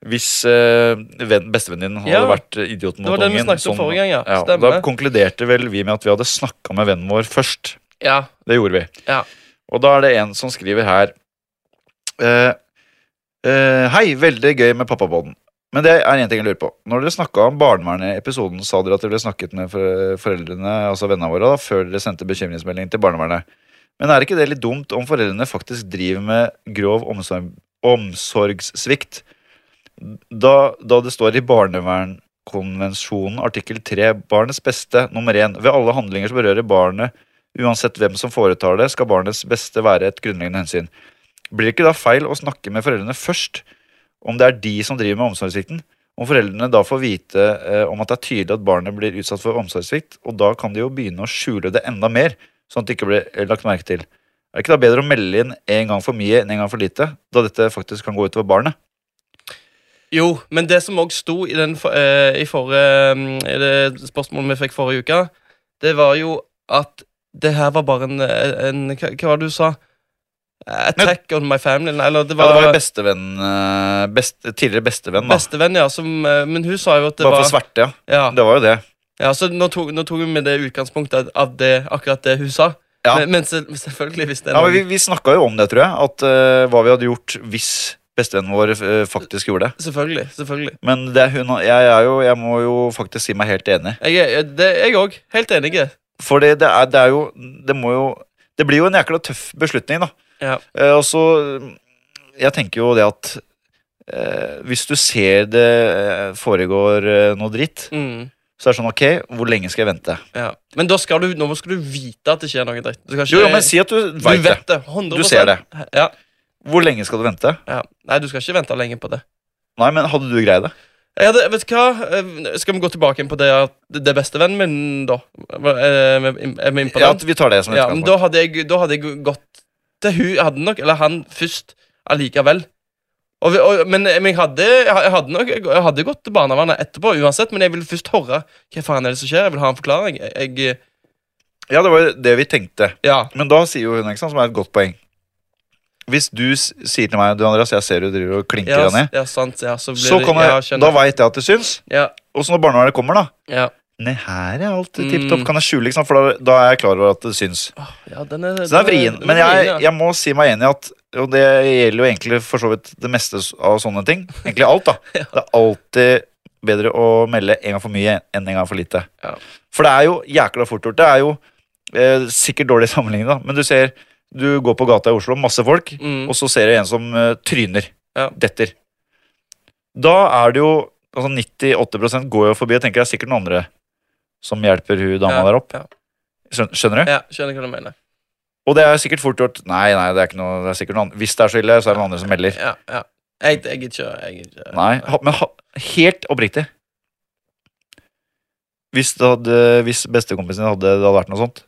hvis eh, venn, bestevennen din hadde Ja. vært idioten Det mot var den vi ungen snakket om som- forrige gang, ja. Ja, og Stemmer. da konkluderte vel vi med at vi hadde snakka med vennen vår først. Ja. Det gjorde vi. Ja. Og da er det en som skriver her eh, eh, Hei, veldig gøy med pappabånden. Men det er en ting jeg lurer på. Når dere snakka om barnevernet i episoden, sa dere at dere ble snakket med for- foreldrene, altså vennene våre, da, før dere sendte bekymringsmelding til barnevernet. Men er ikke det litt dumt om foreldrene faktisk driver med grov omsorg, omsorgssvikt? Da, da det står i barnevernkonvensjonen artikkel 3 barnets beste nummer 1 ved alle handlinger som berører barnet Uansett hvem som foretar det, skal barnets beste være et grunnleggende hensyn. Blir det ikke da feil å snakke med foreldrene først, om det er de som driver med omsorgssvikten? Om foreldrene da får vite eh, om at det er tydelig at barnet blir utsatt for omsorgssvikt, og da kan de jo begynne å skjule det enda mer, sånn at det ikke blir eh, lagt merke til. Er det ikke da bedre å melde inn en gang for mye enn en gang for lite, da dette faktisk kan gå utover barnet? Jo, men det som òg sto i, den, for- eh, i, forrige, mm, i det spørsmålet vi fikk forrige uke, det var jo at det her var bare en, eh, en Hva hva var det du sa? Eh, Attack on my family? Nei, eller det Ja, var, det var jo bestevenn, eh, best, tidligere bestevenn, da. bestevenn, ja. Som, eh, men hun sa jo at det Bare for var sverte, ja. ja, Det var jo det. ja, så nå tok, nå tok vi med det utgangspunktet av det, akkurat det hun sa. Ja. Men, men selv, selvfølgelig, hvis det er Ja, men noen vi vi snakka jo om det, tror jeg. At eh, Hva vi hadde gjort hvis bestevennen vår eh, faktisk gjorde det. Selvfølgelig. selvfølgelig Men det, er hun, har- jeg, er jo, jeg må jo faktisk si meg helt enig. Jeg er- jeg- det- jeg òg. Helt enig. For det, det, er, det er jo Det må jo Det blir jo en jækla tøff beslutning, da. Ja. Eh, og så mm, Jeg tenker jo det at eh, hvis du ser det eh, foregår eh, noe dritt, Mm, så er det sånn Ok, hvor lenge skal jeg vente? ja. Men da skal du, nå skal du vite at det skjer noe dritt. Du skal ikke Jo, jo, men si at du Du veit det. vet det. 100 Du ser det. Ja, Hvor lenge skal du vente? ja. Nei, du skal ikke vente lenge på det. Nei, men hadde du greid det? Jeg hadde, vet du hva? Eh, Skal vi gå tilbake inn på det at det beste vennen min, da? Hva- eh, Er vi inn- er vi inne på Ja, den? at vi tar det som et Ja, men da hadde jeg, da hadde jeg gått til hun hadde nok, eller han først allikevel. Og, vi- og, men men jeg, hadde, jeg hadde nok Jeg hadde gått til barnevernet etterpå uansett, men jeg ville først høre hva faen er det som skjer. Jeg vil ha en forklaring. Jeg, jeg, ja, det var jo det vi tenkte. ja, Men da sier jo hun, ikke sant, som er et godt poeng Hvis du s- sier til meg Du Andreas, jeg ser du driver og klinker ja, deg ned ja, sant. Ja, så blir Så det kan ja, jeg, skjønner. da vet jeg at det syns Ja, Og så når barnevernet kommer da ja. Nei, her er alt Mm. tipptopp Kan jeg skjule, ikke sant, for da, da er jeg klar over at det syns Åh, ja den er, Så det er vrien Men jeg, ja. jeg må si meg enig i at Og det gjelder jo egentlig for så vidt Det meste s- av sånne ting Egentlig alt da Ja. Det er alltid bedre å melde en gang for mye Enn en gang for lite Ja. For det er jo jækla fort gjort Det er jo eh, sikkert dårlig sammenligning da Men du ser Du går på gata i Oslo Masse folk Mm. og så ser jeg en som eh, tryner. Ja. Detter. Da er det jo altså 98 går jo forbi og tenker det er sikkert noen andre som hjelper hun dama Ja, der opp. ja. Skjøn- Skjønner du? Ja, skjønner hva du mener. Og det er sikkert fort gjort. Nei, nei, det er ikke noe, det er sikkert noen andre. Hvis det er så ille, så er det noen andre som melder. Ja, ja. Jeg, jeg gidder ikke. Jeg gidder ikke. Nei, ha- Men ha, helt oppriktig Hvis, det hadde, hvis bestekompisen din hadde, det hadde vært noe sånt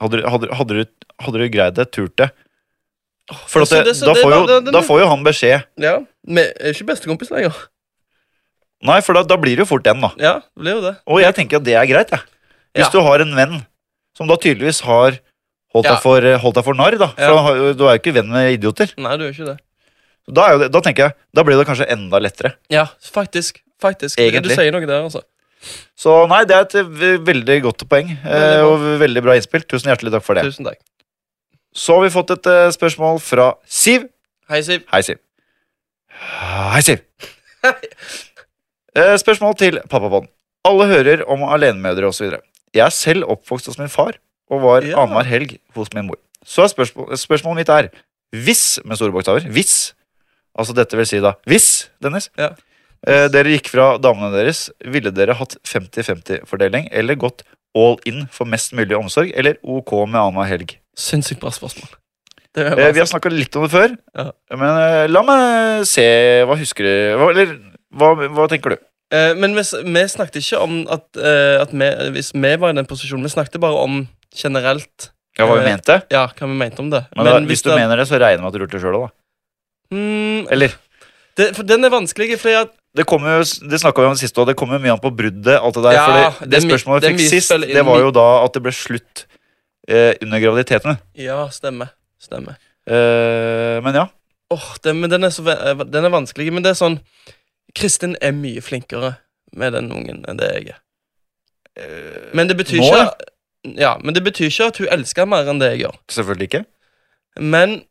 Hadde, du- hadde, du- hadde, du, hadde du greid det, turt det? For at altså, det, det- så da, det- får jo, da- da- da får jo han beskjed Ja, Vi er ikke bestekompis lenger. Nei, for da, da blir det jo fort den, da. Ja, det blir jo det. Og jeg tenker at det er greit. Jeg. Hvis Ja. du har en venn som da tydeligvis har Holdt, Ja. deg for, holdt deg for narr, da. For Ja. han har jo- du er jo ikke venn med idioter. Nei, du gjør ikke det. Da, er jo det, da tenker jeg, da blir det kanskje enda lettere. Ja, faktisk. Faktisk. Egentlig. Du sier noe der, altså. Så nei, det er et eh, veldig godt poeng eh, bra. og veldig bra innspill. Tusen hjertelig takk for det. Tusen takk. Så har vi fått et eh, spørsmål fra Siv. Hei, Siv. Hei, Siv. Hei, Siv. Eh, Spørsmål til pappabånd. Alle hører om alenemødre osv. Jeg er selv oppvokst hos min far og var Ja. annenhver helg hos min mor. Så er spørsmål, spørsmålet mitt er hvis, med store bokstaver, hvis Altså dette vil si da hvis, Dennis, Ja. eh, dere gikk fra damene deres, ville dere hatt 50-50-fordeling eller gått all in for mest mulig omsorg, eller OK med annenhver helg? Sinnssykt bra spørsmål. Det er sånn. Eh, bra. vi har snakka litt om det før, Ja. men eh, la meg se Hva husker du? Hva, eller hva, hva tenker du? Eh, men vi, s- vi snakket ikke om at, eh, at vi, hvis vi var i den posisjonen. Vi snakket bare om generelt Ja, hva vi Eh, mente? ja, hva vi mente om det. Men da, hvis, du det- mener det, så regner jeg med at du lurte sjøl òg, da. Mm, Eller det, for den er vanskelig, fordi at det kommer jo, det snakka vi om sist òg, det kommer mye an på bruddet. alt Det der, Ja, for det, det det er mi- spørsmålet det vi er fikk mye sist, spill- det var jo da at det ble slutt eh, under graviditeten. Ja, stemmer. Stemmer. Eh, men ja. Åh, den, men den er, så, ve- eh, den er vanskelig, men det er sånn Kristin er mye flinkere med den ungen enn det jeg er. eh, Men det betyr Nå, ikke Ja, men det betyr ikke at hun elsker mer enn det jeg gjør. selvfølgelig ikke. Men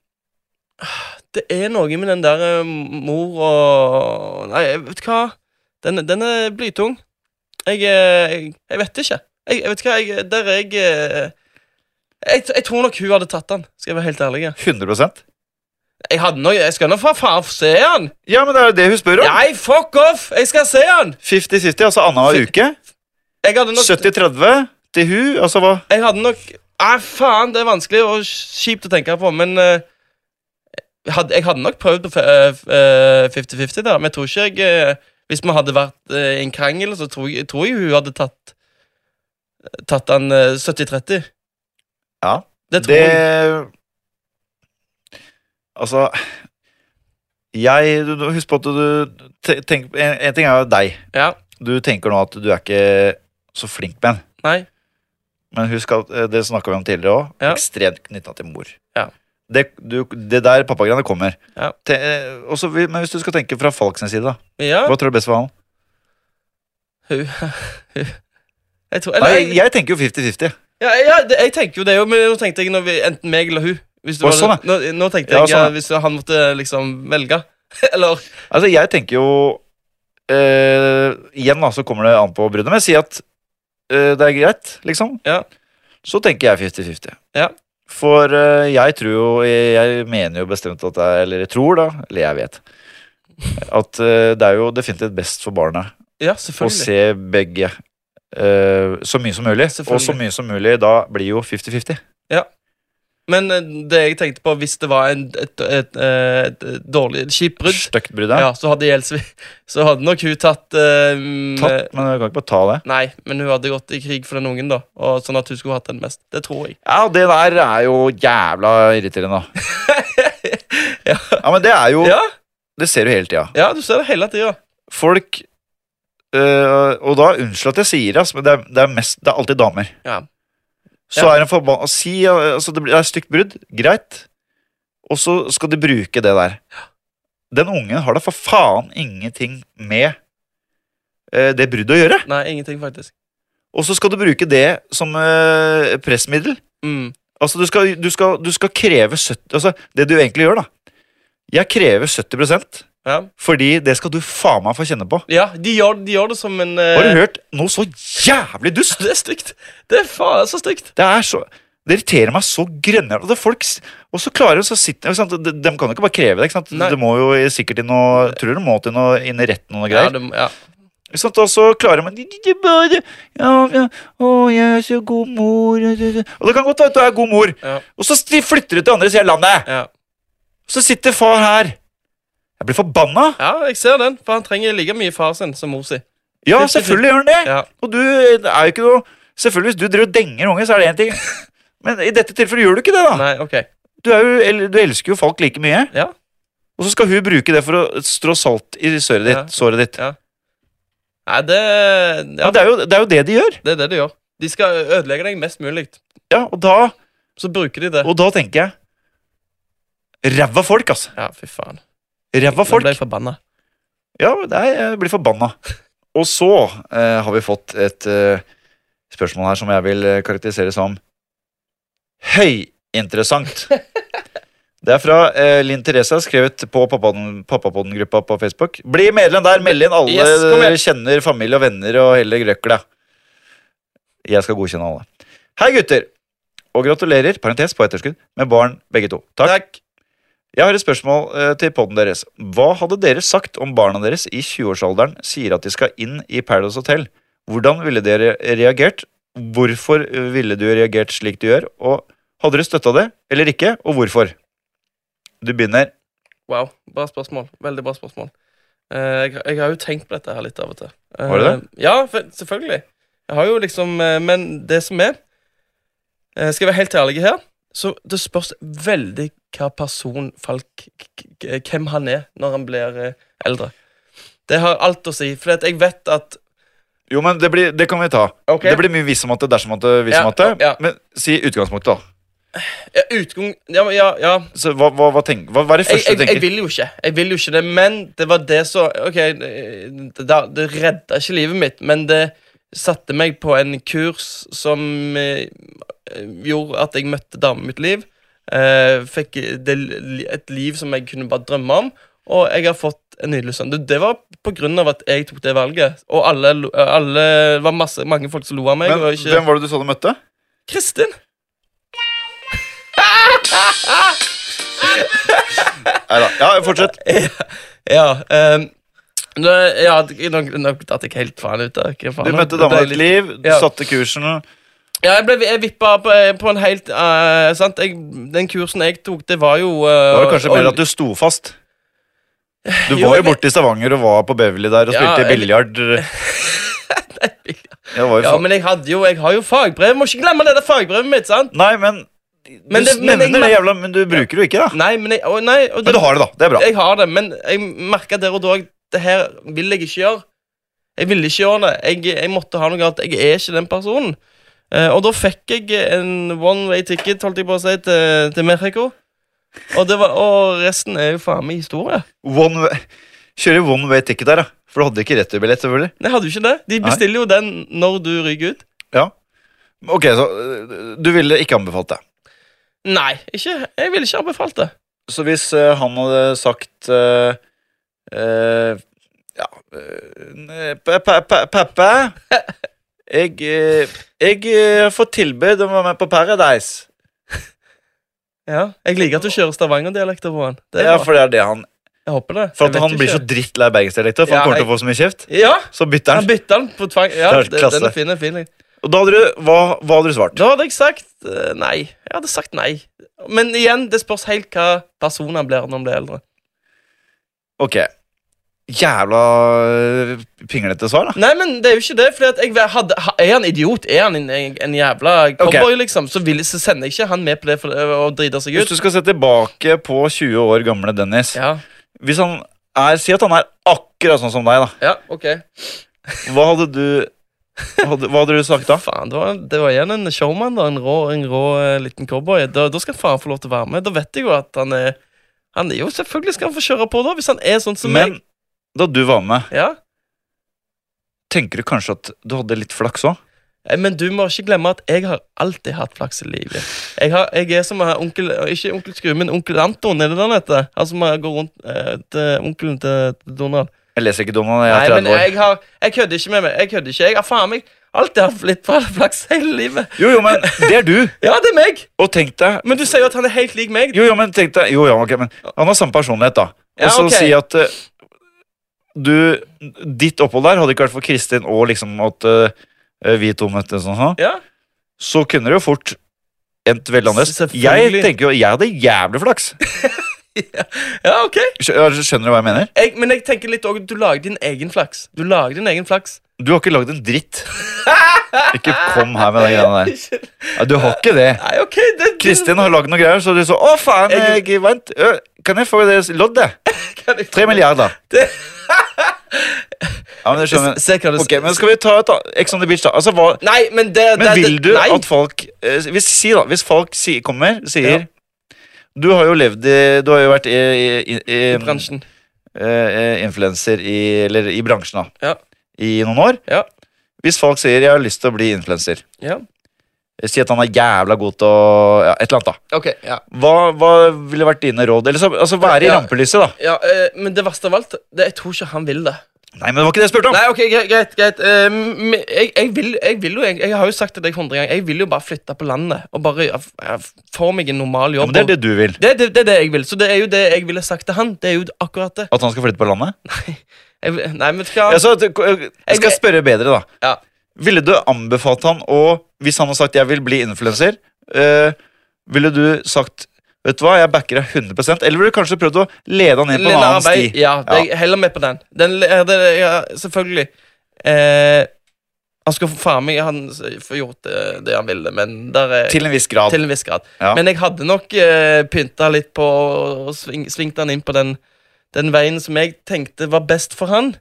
ah, det er noe med den der eh, mor og Nei, jeg vet hva. Den, den er blytung. Jeg, eh, jeg, jeg vet ikke. Jeg, jeg vet hva, jeg, der er jeg eh, jeg, jeg tror nok hun hadde tatt den, skal jeg være helt ærlig. 100 Jeg hadde nok, jeg skal nå for faen se han! Ja, men det er jo det hun spør om! Nei, fuck off! Jeg skal se han! 50-50, altså annenhver uke. Jeg hadde nok, 70-30 til hun, altså hva? jeg hadde nok Nei, faen, det er vanskelig og kjipt å tenke på, men eh, jeg hadde, jeg hadde nok prøvd på fe- eh, f- eh, 50-50 der, men jeg tror ikke jeg eh, Hvis vi hadde vært eh, i en krangel, så tror jeg, tror jeg hun hadde tatt Tatt den eh, 70-30. Ja, Det tror jeg. Det Altså Jeg du- du- Husk på at du te- tenk, en, en ting er jo deg. Ja. Du tenker nå at du er ikke så flink med en. Nei. Men husk at eh, det snakka vi om tidligere òg. Ja. Ekstremt knytta til mor. Ja. Det, du, det der pappagreiene kommer. Ja. Te, eh, også vi- men hvis du skal tenke fra Falk sin side, da. Ja, Hva tror du er best for han? hun Jeg tror Eller Nei, jeg, jeg tenker jo 50-50. ja, ja, det, jeg tenker jo det, jo, men nå tenkte jeg når vi, enten meg eller hun. Hvis du Å, hadde- sånn, nå, nå tenkte Ja, jeg sånn, ja. eh, hvis han måtte liksom velge. eller Altså, jeg tenker jo eh, Igjen, da, så kommer det an på bruddet. Men si at eh, det er greit, liksom. Ja. Så tenker jeg 50-50. Ja. For eh, jeg tror jo jeg, jeg mener jo bestemt at jeg Eller jeg tror, da. Eller jeg vet. At eh, det er jo definitivt best for barnet Ja, å selvfølgelig. se begge eh, så mye som mulig. Og så Selvfølgelig. mye som mulig, da blir jo 50-50. Men eh, det jeg tenkte på, hvis det var en, et, et, eh, et, et dårlig et kjipt brudd, Stygt brudd, ja. ja, så, hadde Jelsvi, så hadde nok hun tatt eh, Tatt, men du kan ikke bare ta det. Nei, men hun hadde gått i krig for den ungen, da. Og sånn at hun skulle hatt den mest. Det tror jeg. Ja, det der er jo jævla irriterende, da. Ja. ja, men det er jo Ja, Det ser du hele tida. ja du ser det hele tida. Folk øh, Og da unnskyld at jeg sier det, ass, men det er, det er, mest, det er alltid damer. Ja. Så Ja. er en forbanna si, øh, altså Det blir- det er et stygt brudd. Greit. Og så skal de bruke det der. Den ungen har da for faen ingenting med øh, det bruddet å gjøre. Nei, ingenting, faktisk. Og så skal du bruke det som øh, pressmiddel. Mm. Altså, du skal, du skal, du skal kreve 70 Altså, det du egentlig gjør, da. Jeg krever 70 Ja. fordi det skal du faen meg få kjenne på. ja, de gjør, de gjør det som en eh, Har du hørt noe så jævlig dust? Det er stygt. Det er faen så stygt. Det er så det irriterer meg så grønnere. Og det er folk, s- og så klarer de så sitter, ikke sant? De, de kan jo ikke bare kreve det. ikke sant? Nei. Det må jo i- sikkert i noe, tror det må til noe, inn i retten og noe Ja, greier. det, ja. Ikke sant? Og så klarer man de, de, de bare, ja, ja, 'Å, jeg er så god mor' og det- det- Og det kan godt være at du er god mor, Ja. og så sti- flytter du til andre siden av landet. Ja. Og så sitter far her. Jeg blir forbanna. ja, jeg ser den, for han trenger like mye far sin som mor si. Ja, selvfølgelig gjør han det. Ja. Og du det er jo ikke noe Selvfølgelig, hvis du driver og denger unge, så er det én ting. Men i dette tilfellet gjør du ikke det, da. Nei, ok. Du, er jo, eller, du elsker jo folk like mye. Ja. Og så skal hun bruke det for å strå salt i såret ditt. Ja. Såret ditt. Ja. Nei, det Ja, ja, det, er jo, det er jo det de gjør. Det er det de gjør. De skal ødelegge deg mest mulig. Ja, Og da så bruker de det. Og da tenker jeg Ræva folk, altså. Ja, fy faen. Ræva Nå folk. ble jeg forbanna. Ja, nei, jeg blir forbanna. Og så eh, har vi fått et eh, spørsmål her som jeg vil eh, karakterisere som høyinteressant. Det er fra eh, Linn Therese, skrevet på Pappapodden- Pappapodden-gruppa på Facebook. Bli medlem der, meld inn alle Yes, kom dere kjenner, familie og venner og hele grøkla. Jeg skal godkjenne alle. Hei, gutter! Og gratulerer, parentes på etterskudd, med barn begge to. Takk. Jeg har et spørsmål eh, til podden deres. Hva hadde dere sagt om barna deres i 20-årsalderen sier at de skal inn i Paradise Hotel? Hvordan ville dere reagert? Hvorfor eh, ville du reagert slik du gjør? Og hadde dere støtta det eller ikke, og hvorfor? Du begynner. Wow, bra spørsmål. Veldig bra spørsmål. Eh, jeg, jeg har jo tenkt på dette her litt av og til. Eh, Har du det? Ja, for, selvfølgelig. Jeg har jo liksom eh, Men det som er eh, Skal jeg være helt ærlig her, så det spørs veldig hva person Falk k- k- Hvem han er når han blir eh, eldre. Det har alt å si, for at jeg vet at Jo, men det, blir, det kan vi ta. Ok. Det blir mye hvis om at det, dersom at det, hvis Ja, om at det. ja. Men si utgangspunktet, da. ja, Utgang Ja, men ja, ja. Så hva, hva, hva, tenk, hva, hva er det Jeg, første du jeg, jeg tenker? vil jo ikke Jeg vil jo ikke det, men det var det som Ok, eh, det, da- det redda ikke livet mitt, men det satte meg på en kurs som eh, gjorde at jeg møtte damen i mitt liv. Eh, fikk det, li- et liv som jeg kunne bare drømme om, og jeg har fått en nydelig sønn. Det, det var på grunn av at jeg tok det valget, og alle, lo- alle det var masse, mange folk som lo av meg. Men og ikke, Hvem var det du så du møtte? Kristin! Nei da. Ja, fortsett. Ja, ehm, nå, ja nå, nå datt jeg helt faen ut der. Hva Du faen, møtte nå ble dama i jeg ditt litt- liv, du Ja. satte kursen. Ja, jeg ble jeg vippa på, på en helt eh, sant? Jeg, Den kursen jeg tok, det var jo eh, Det var kanskje mer og- at du sto fast. Du Jo, var jo jeg- borte i Stavanger og var på Beverly der og Ja, spilte jeg- biljard. Ja, det var jo Ja, fa- men jeg hadde jo Jeg har jo fagbrev. Må ikke glemme det der fagbrevet mitt, sant? Nei, men du Men det- men nevner jeg- det jævla, men du bruker det jo ikke, da. Nei, men jeg å, nei, og Men du har det, da. Det er bra. Jeg har det, men jeg merka der og da at det her vil jeg ikke gjøre. Jeg ville ikke gjøre det. Jeg, jeg måtte ha noe annet. Jeg er ikke den personen. Eh, og da fikk jeg en one way ticket, holdt jeg på å si, til, til Mexico. Og, det var, og resten er jo faen meg historie. One way. Kjører one way ticket der, da. For du hadde ikke returbillett, selvfølgelig. Nei, Jeg hadde jo ikke det. De Nei. bestiller jo den når du ryker ut. Ja. Ok, så øh, du ville ikke anbefalt det. Nei, ikke, jeg ville ikke anbefalt det. Så hvis øh, han hadde sagt øh, øh, Ja øh, pa- pa- pa- Pappa, jeg, øh, jeg øh, får tilbud om å være med på Paradise. Ja, Jeg liker at du kjører Stavanger-dialekter på han. Det er Ja, bra. for det er det han Jeg håper det. For Jeg at vet han jo blir så ikke. drittlei bergensdialekter, for Ja, han kommer til å jeg- få så mye kjeft. Ja, Så bytter han han. bytta den på tvang. Ja, Det er det, klasse. den er fin. Den er fin. Og da hadde du, hva, hva hadde du svart? Da hadde jeg sagt eh, nei. Jeg hadde sagt nei. Men igjen, det spørs helt hva person han blir når han blir eldre. Ok. Jævla øh, pinglete svar, da. Nei, men det er jo ikke det. Fordi at jeg væ- hadde, ha- Er han idiot? Er han en, en, en jævla cowboy, liksom? Så, vil, så sender jeg ikke han med på det for å å drite seg Hvis ut. du skal se tilbake på 20 år gamle Dennis Ja, Hvis han er, Si at han er akkurat sånn som deg, da. ja, ok Hva hadde du hadde, Hva hadde du sagt da? Faen, det var, det var igjen en showman, da. En rå, en rå eh, liten cowboy. Da, da skal faen få lov til å være med. Da vet jeg jo at han er han er jo Selvfølgelig skal han få kjøre på, da, hvis han er sånn som Men meg. da du var med, Ja. tenker du kanskje at du hadde litt flaks òg? Eh, Men du må ikke glemme at jeg har alltid hatt flaks i livet. Jeg, har, jeg er som eh, onkel Ikke onkel Skrue, men onkel Anton. Er det det han heter? Han som eh, går rundt eh, til onkelen til til Donald. Jeg leser ikke Donald, jeg Nei, er 30 men år. jeg har Jeg kødder ikke med meg. Jeg kødder ikke. Jeg har faen meg alltid hatt litt bra flaks hele livet. Jo, jo, men det er du. Ja, det er meg! Og tenk deg Men du sier jo at han er helt lik meg. Jo, ja, men tenk deg Jo, ja, ok, men han har samme personlighet, da. Og Ja, så ok. si at eh, du Ditt opphold der hadde ikke vært for Kristin og liksom at eh, vi to møttes og sånn, Ja, så kunne det jo fort endt veldig annerledes. Jeg Selvfølgelig. tenker jo Jeg hadde jævlig flaks. ja ok. Skj- ja, Skjønner du hva jeg mener? Jeg, men jeg tenker litt òg Du lager din egen flaks. Du lager din egen flaks. Du har ikke lagd en dritt. Ikke kom her med den greia der. Nei, Ja, du har ikke det. ok, det Kristin har lagd noen greier, så du så Å, faen, Jeg- jeg vant. Ø, Kan jeg få det loddet? Kan jeg- Tre milliarder. Det- Ja, men jeg skjønner. Se hva du Ok, men skal vi ta et annet- Ex on the beach, da? Altså, hva, Nei, men det, men det, det vil du nei. at folk eh, hvis, si da, hvis folk si, kommer, sier Du har jo levd i Du har jo vært i, i, i, I bransjen. eh, eh, influencer i, eller, i bransjen da Ja. i noen år. Ja. Hvis folk sier 'jeg har lyst til å bli influenser', Ja. si at han er jævla god til å ja, Et eller annet, da. Ok, ja. Hva, hva ville vært dine råd? Eller så, altså, Være i Ja. rampelyset, da. ja eh, men det verste av alt det, Jeg tror ikke han vil det. Nei, men det var ikke det jeg spurte om! Nei, ok, greit. greit, greit. Eh, men jeg, jeg, vil, jeg vil jo jeg, jeg har jo sagt til deg hundre ganger Jeg vil jo bare flytte på landet og bare ja, f- ja, få meg en normal Ja, jobb. men det er det du vil. Det, det, det er det jeg vil. Så det er jo det jeg ville sagt til han. Det er jo akkurat det. At han skal flytte på landet? Jeg, vil- nei, men vet du hva? Altså, at- jeg skal spørre bedre, da. Ja. Ville du anbefalt han å Hvis han har sagt 'jeg vil bli influenser', eh, ville du sagt 'vet du hva, jeg backer deg 100 Eller ville du kanskje prøvd å lede han inn på en Lille annen arbeid, sti? Ja, det, jeg heller med på den. den ja, det, ja, selvfølgelig. Eh, han skal få faen meg han s- få gjort eh, det, det han ville, men der er, Til en viss grad. til en viss grad. Ja. Men jeg hadde nok eh, pynta litt på og sving, svingt han inn på den, den veien som jeg tenkte var best for han.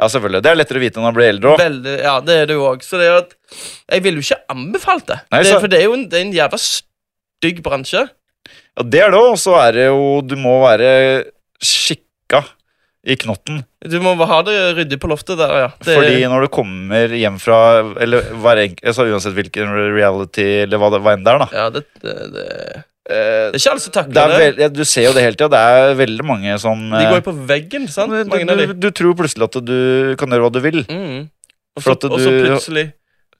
Ja, selvfølgelig. Det er lettere å vite når han blir eldre òg. Veldig, ja, det er det jo òg. Så det er jo at Jeg ville jo ikke anbefalt det. Nei, det så- for det er jo en, det er en jævla stygg bransje. Ja, det er det òg. Og så er det jo Du må være skikka i knotten. Du må ha det ryddig på loftet der, ja. Det, Fordi når du kommer hjem fra Eller hver enk- jeg sa uansett hvilken reality eller hva det hva enn det er, da. ja, det, det, det, Eh, det er ikke alle som takler det er vel, ja, du ser jo det hele tida. Det er veldig mange som De eh, går jo på veggen, sant? du, Mange av du, de. du tror plutselig at du kan gjøre hva du vil, Mm. Og For så at og så du- plutselig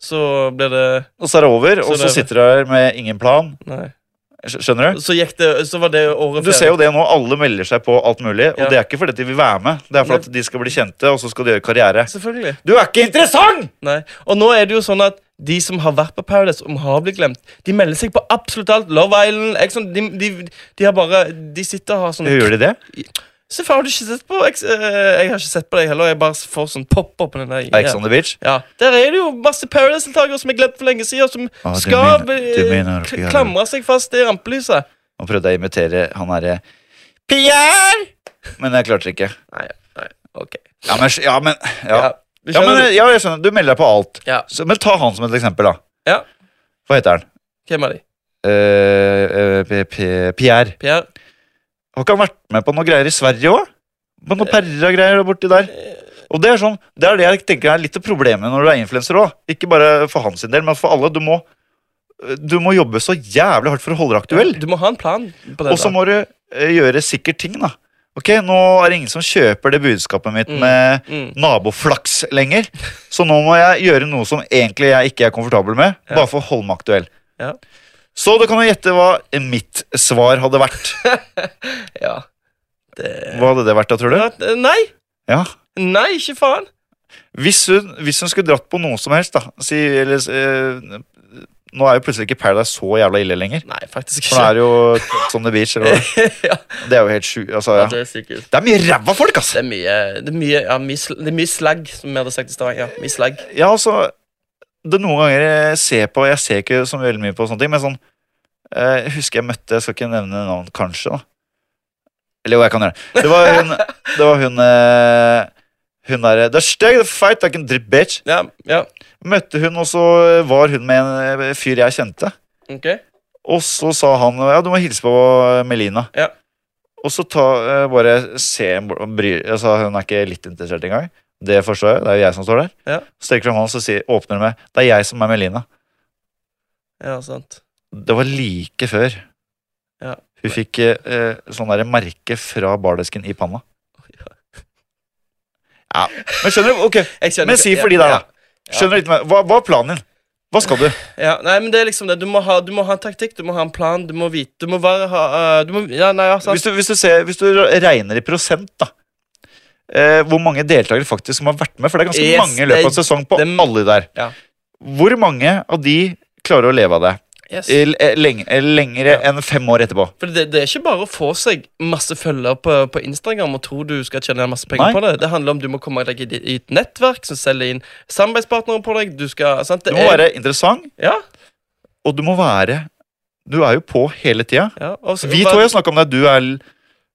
så ble det og så er det over, og Så det er så det. sitter du her med ingen plan. Nei. Skj- Skjønner du? Så gikk det Så var det året Du ser jo det nå, alle melder seg på alt mulig, og Ja. det er ikke fordi at de vil være med. Det er Nei. fordi at de skal bli kjente, og så skal de gjøre karriere. Selvfølgelig. Du er ikke interessant! Nei. Og nå er det jo sånn at de som har vært på Paradise, om har blitt glemt, de melder seg på absolutt alt. Love Island Ex on- de, de, de har bare De sitter og har sånn Gjør de det? Se, faen, har du ikke sett på Ex- eh, Jeg har ikke sett på deg heller. Jeg bare får sånn pop-opp. på den der- Ex on the beach? Ja, Der er det jo masse Paradise-deltakere som er glemt for lenge siden, og som Ah, du skal mener- du eh, mener at kl- vi har- klamre seg fast i rampelyset. Nå prøvde jeg å imitere han herre Pierre! Men jeg klarte det ikke. Nei, nei, ok. Ja, men Ja, men, ja. vi Ja, men skjønner det. ja, jeg skjønner. Du melder deg på alt. Ja. Så, men ta han som et eksempel, da. Ja. Hva heter han? Hvem er de? Eh, eh, P- P- Pierre. Pierre? Har ikke han vært med på noe greier i Sverige òg? På noe perra-greier borti der. Og det er sånn, det er det jeg tenker er litt av problemet når du er influenser òg. Ikke bare for hans del, men for alle. Du må, du må jobbe så jævlig hardt for å holde deg aktuell. Du må ha en plan på det. Og så må du eh, gjøre sikkert ting, da. Ok, nå er det ingen som kjøper det budskapet mitt Mm. med Mm. naboflaks lenger. Så nå må jeg gjøre noe som egentlig jeg ikke er komfortabel med, Ja. bare for å holde meg aktuell. Ja. Så du kan jo gjette hva mitt svar hadde vært. Ja. Det... Hva hadde det vært da, tror du? At- Nei! Ja. Nei, ikke faen! Hvis hun, hvis hun skulle dratt på noe som helst, da si, eller, eh, Nå er jo plutselig ikke Paradise så jævla ille lenger. Nei, faktisk For nå ikke. er det jo Ex on the beach. Eller, hva. ja. det er jo helt sju... Altså, Ja, ja. det er sikkert. Det er mye ræva folk, altså! ass! Det er mye, det er mye, ja, mye, sl det er mye slagg, som vi hadde sagt i Stavanger. Ja, mye slagg. Ja, altså det er Noen ganger jeg ser på Jeg ser ikke så veldig mye på sånne ting, men sånn eh, Jeg husker jeg møtte Jeg skal ikke nevne navn, kanskje, da. Eller jo, jeg kan gjøre det. Det var hun Det var hun eh, Hun derre Det er steg, det er feit, det er ikke en dritt bitch. Ja, ja. Møtte hun, og så var hun med en eh, fyr jeg kjente. Ok. Og så sa han Ja, du må hilse på Melina. Ja. Og så ta, eh, bare se en bort- og bry, altså, Hun er ikke litt interessert engang. Det forstår jeg. Det er jo jeg som står der. Ja. Så trekker hun hånden og så sier, åpner hun med Det er jeg som er Melina. Ja, sant. Det var like før. Ja. Hun fikk eh, eh, sånn der merke fra bardesken i panna. Ja. Men skjønner du? Ok, Jeg skjønner men ikke- si for de ja, der, da. Skjønner du litt mer? Hva, hva er planen din? Hva skal du? Ja, nei, men det er liksom det. Du må ha, du må ha en taktikk, du må ha en plan, du må vite Du må være ha, eh, du må, Ja, nei, ja, sant. Altså, Hvis du, hvis du, ser, hvis du regner i prosent, da. Eh, hvor mange deltakere faktisk som har vært med? For det er ganske Yes, mange i løpet av det- sesong på det- alle der. Ja. Hvor mange av de klarer å leve av det Yes. I l- eh, leng- eh, lengre Ja. enn fem år etterpå? For det, det er ikke bare å få seg masse følgere på, på Instagram og tro du skal tjene masse Nei. penger på det. Det handler om du må komme deg i, i et nettverk som selger inn samarbeidspartnere på deg. Du skal, sant? Du Det må være interessant, Ja, og du må være Du er jo på hele tida. ja. og så- Vi og to bare- har snakka om det. Du er l-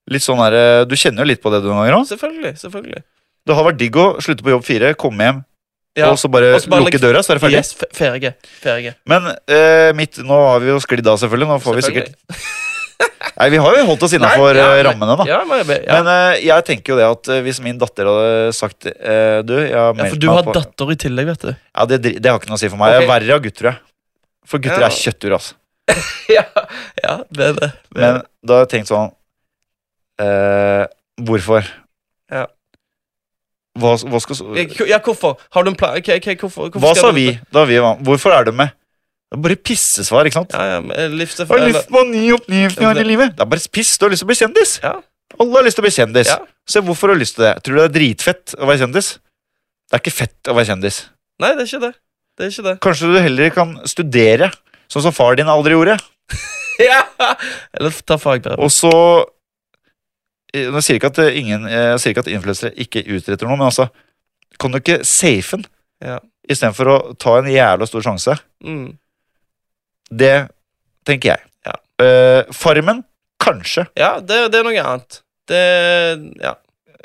litt sånn her, eh, Du kjenner jo litt på det du noen ganger òg. Selvfølgelig, selvfølgelig. Det har vært digg å slutte på jobb fire, komme hjem Ja, og så bare, og så bare lukke legge- døra, så er det ferdig. Yes, fe- ferdig. ferdig. Men eh, mitt Nå har vi jo sklidd av, selvfølgelig. Nå får vi sikkert Nei, vi har jo holdt oss innafor Nei, ja, nei. rammene, da. Ja, men, jeg- ja. Men eh, jeg tenker jo det at eh, hvis min datter hadde sagt eh, Du, jeg har ja, meldt for du meg på har datter i tillegg, vet du. Ja, det, dri- det har ikke noe å si for meg. Jeg er Ok. verre av gutter, tror jeg. For gutter Ja. er kjøttur, altså. ja, ja, det er det. det, er Men det. da har jeg tenkt sånn eh, Hvorfor? Ja. Hva, hva, skal, Jeg- Ja, hvorfor? Har du en plan? Ok, ok, hvorfor, hvorfor hva skal sa du- vi da vi var Hvorfor er du med? Det er bare pissesvar, ikke sant? Ja, ja, men, eh, livsdef- Jeg har lyst på ny oppgivning her i Det- livet. Det er bare piss. Du har lyst til å bli kjendis. Ja. Alle har lyst til å bli kjendis. Ja. Se hvorfor har du lyst til det. Tror du det er dritfett å være kjendis? Det er ikke fett å være kjendis. Nei, det er ikke det. Det er ikke det. Kanskje du heller kan studere, sånn som far din aldri gjorde. Ja! Eller ta fagbrev. Og så eh, Nå sier jeg ikke at eh, ingen eh, Jeg sier ikke at influensere ikke utretter noe, men altså Kan du ikke safe den Ja. istedenfor å ta en jævla stor sjanse? Mm. Det tenker jeg. Ja. Eh, farmen kanskje. Ja, det, det er noe annet. Det Ja.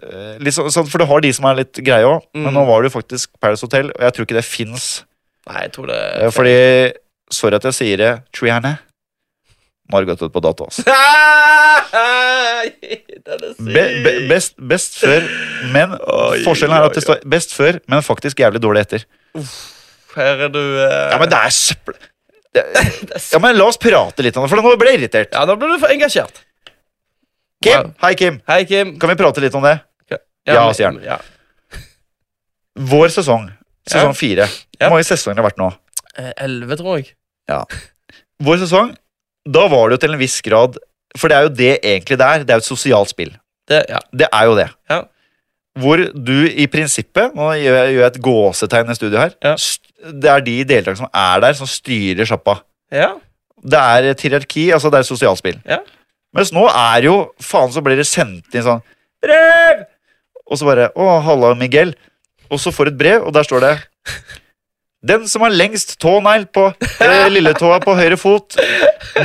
Eh, litt sånn, sånn- for du har de som er litt greie òg, men Mm. nå var det jo faktisk Paris Hotel, og jeg tror ikke det fins. Nei, jeg tror det Eh, fordi Sorry at jeg sier det, Triana. Nå har det gått ut på dato, altså. Ah! Den er syk! Be, be, best, best før, men Oi, Forskjellen er at oi, det står best før, men faktisk jævlig dårlig etter. Her er du eh, Ja, men det er søppel det, Ja, men La oss prate litt om det, for nå ble jeg irritert. Ja, da ble du for engasjert. Kim, Wow. Hei, Kim. Hei, Kim. Kan vi prate litt om det? Ja, men- sier han. Ja. Vår sesong, Ja. sesong fire. Ja. Hvor mange sesonger har det vært nå? Eh, 11, tror jeg. Vår sesong, da var det jo til en viss grad For det er jo det egentlig det er. Det er jo et sosialt spill. Det, ja. Det er jo det. Ja. Hvor du i prinsippet Nå gjør jeg, gjør jeg et gåsetegn i studio her. Ja. st- Det er de deltakerne som er der, som styrer sjappa. ja. Det er et hierarki, altså det er et sosialspill. Ja. Mens nå er jo Faen, så blir det sendt inn sånn Brev! Og så bare Å, halla, Miguel. Og så får du et brev, og der står det Den som har lengst tånegl på eh, lilletåa på høyre fot,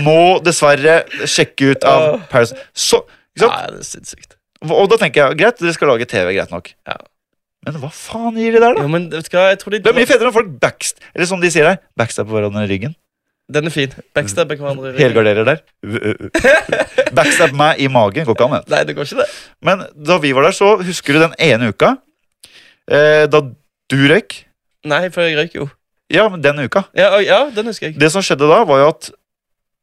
må dessverre sjekke ut av Åh. Paris Så, ikke sant? Nei, det er sinnssykt. Og da tenker jeg greit, dere skal lage TV, greit nok. Ja. Men hva faen gir de der, da? Jo, men vet du hva, jeg tror de Det er mye fetere når folk backst... Eller som de sier her, backstabber hverandre i ryggen. Den er fin. Mm. Backstabber hverandre. i ryggen. Helgarderer der. Uh, uh, uh. Backstab meg i magen. Går ikke an, det. Nei, det går ikke, det. Men da vi var der, så husker du den ene uka eh, da du røyk? Nei, for jeg røyk jo. Ja, men den uka. Ja, og- ja, den husker jeg. Det som skjedde da, var jo at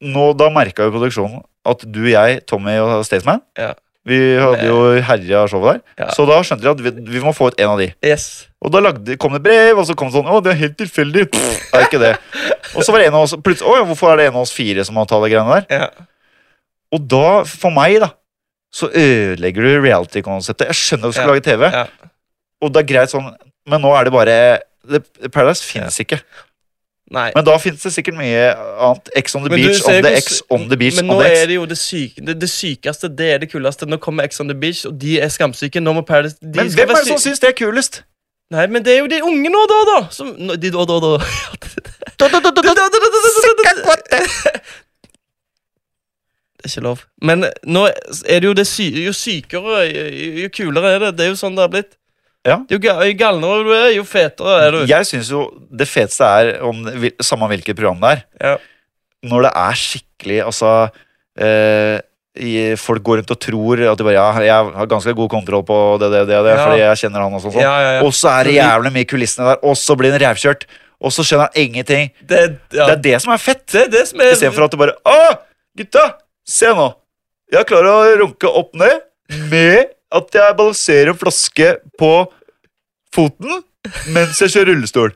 nå da merka jo produksjonen at du, jeg, Tommy og Staysman Ja. Eh. Vi hadde jo herja showet der. Ja. Så da skjønte de at vi, vi må få ut en av de. Yes. Og da lagde, kom det brev, og så kom det sånn Å, det er helt tilfeldig. Pff, det er ikke det. Og så var det en av oss plutselig Å ja, hvorfor er det en av oss fire som har tatt de greiene der? Ja. Og da, for meg, da, så ødelegger du reality-konseptet. Jeg skjønner at du skal Ja, lage TV, ja. og det er greit sånn, men nå er det bare det- Paradise fins ikke. Nei. Men da fins det sikkert mye annet. X on the Men du beach, on ser the hvor X, sy- on the beach, Men on nå the er X. det jo det, syke, det, det sykeste, det er det kuleste. Nå kommer Ex on the Beach, og de er skamsyke. Nå må Paradise de Men skal hvem er være det som syke. syns det er kulest? Nei, men det er jo de unge nå, da, da! Som, nå- de, da, da, da. Det er ikke lov. Men nå er det jo det sy Jo sykere, jo, jo kulere er det. Det er jo sånn det har blitt. Ja. Jo, ga jo galnere du er, jo fetere er du. Jeg syns jo det feteste er, om, det- hvil- samme hvilket program det er, Ja. når det er skikkelig Altså eh, i, Folk går rundt og tror at de bare Ja, jeg har ganske god kontroll på det, det, det, det Ja. fordi jeg kjenner han og sånn. sånn. Ja, ja, ja. Og så er det jævlig mye i kulissene der, og så blir den revkjørt. Og så skjønner han ingenting. Det, ja. Det er det som er fett. det er det som er Istedenfor at du bare Å, gutta! Se nå. Jeg klarer å runke opp ned med at jeg balanserer en flaske på foten mens jeg kjører rullestol.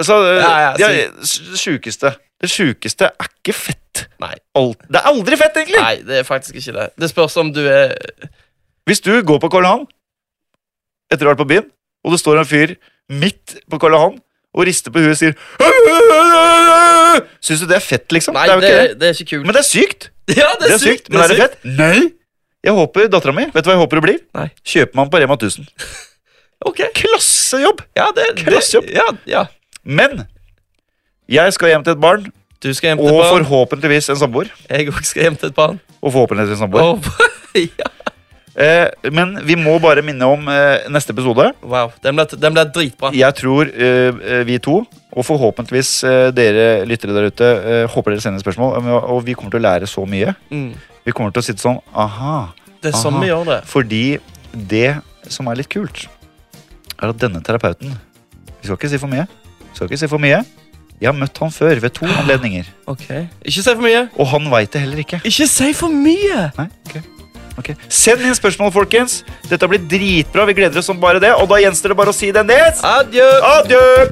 Så, Ja, ja, det er- det sjukeste Det sjukeste er ikke fett. Nei. Alt, det er aldri fett, egentlig! Nei, det er faktisk ikke det. Det spørs om du er Hvis du går på Karl Johan etter å ha vært på byen, og det står en fyr midt på Karl Johan og rister på huet og sier Syns du det er fett, liksom? Nei, det er jo det, ikke det. det er ikke kult. Men det er sykt! ja, Det er sykt, men er det fett? Nei! Jeg håper dattera mi Vet du hva jeg håper det blir? Nei. Kjøpmann på Rema 1000. Ok. Klassejobb! Ja, det, Klassejobb. det ja, ja. Men jeg skal hjem til et barn, Du skal hjem til og et barn. forhåpentligvis en samboer. Jeg òg skal hjem til et barn. Og forhåpentligvis en samboer. Oh, ja. Eh, men vi må bare minne om eh, neste episode. Wow, den ble, den ble dritbra. Jeg tror eh, vi to, og forhåpentligvis eh, dere lyttere der ute, eh, håper dere sender spørsmål. eh, Og vi kommer til å lære så mye. Mm. Vi kommer til å sitte sånn aha. Det er sånn Aha. vi gjør det. Fordi det som er litt kult, er at denne terapeuten Vi skal ikke si for mye. Vi skal ikke si for mye. Jeg har møtt han før ved to anledninger, Ok. Ikke si for mye. og han veit det heller ikke. Ikke si for mye! Nei? Ok. Ok. Send inn spørsmål, folkens. Dette blir dritbra. Vi gleder oss som bare det. Og da gjenstår det bare å si det, Nes. Adjø! Adjø!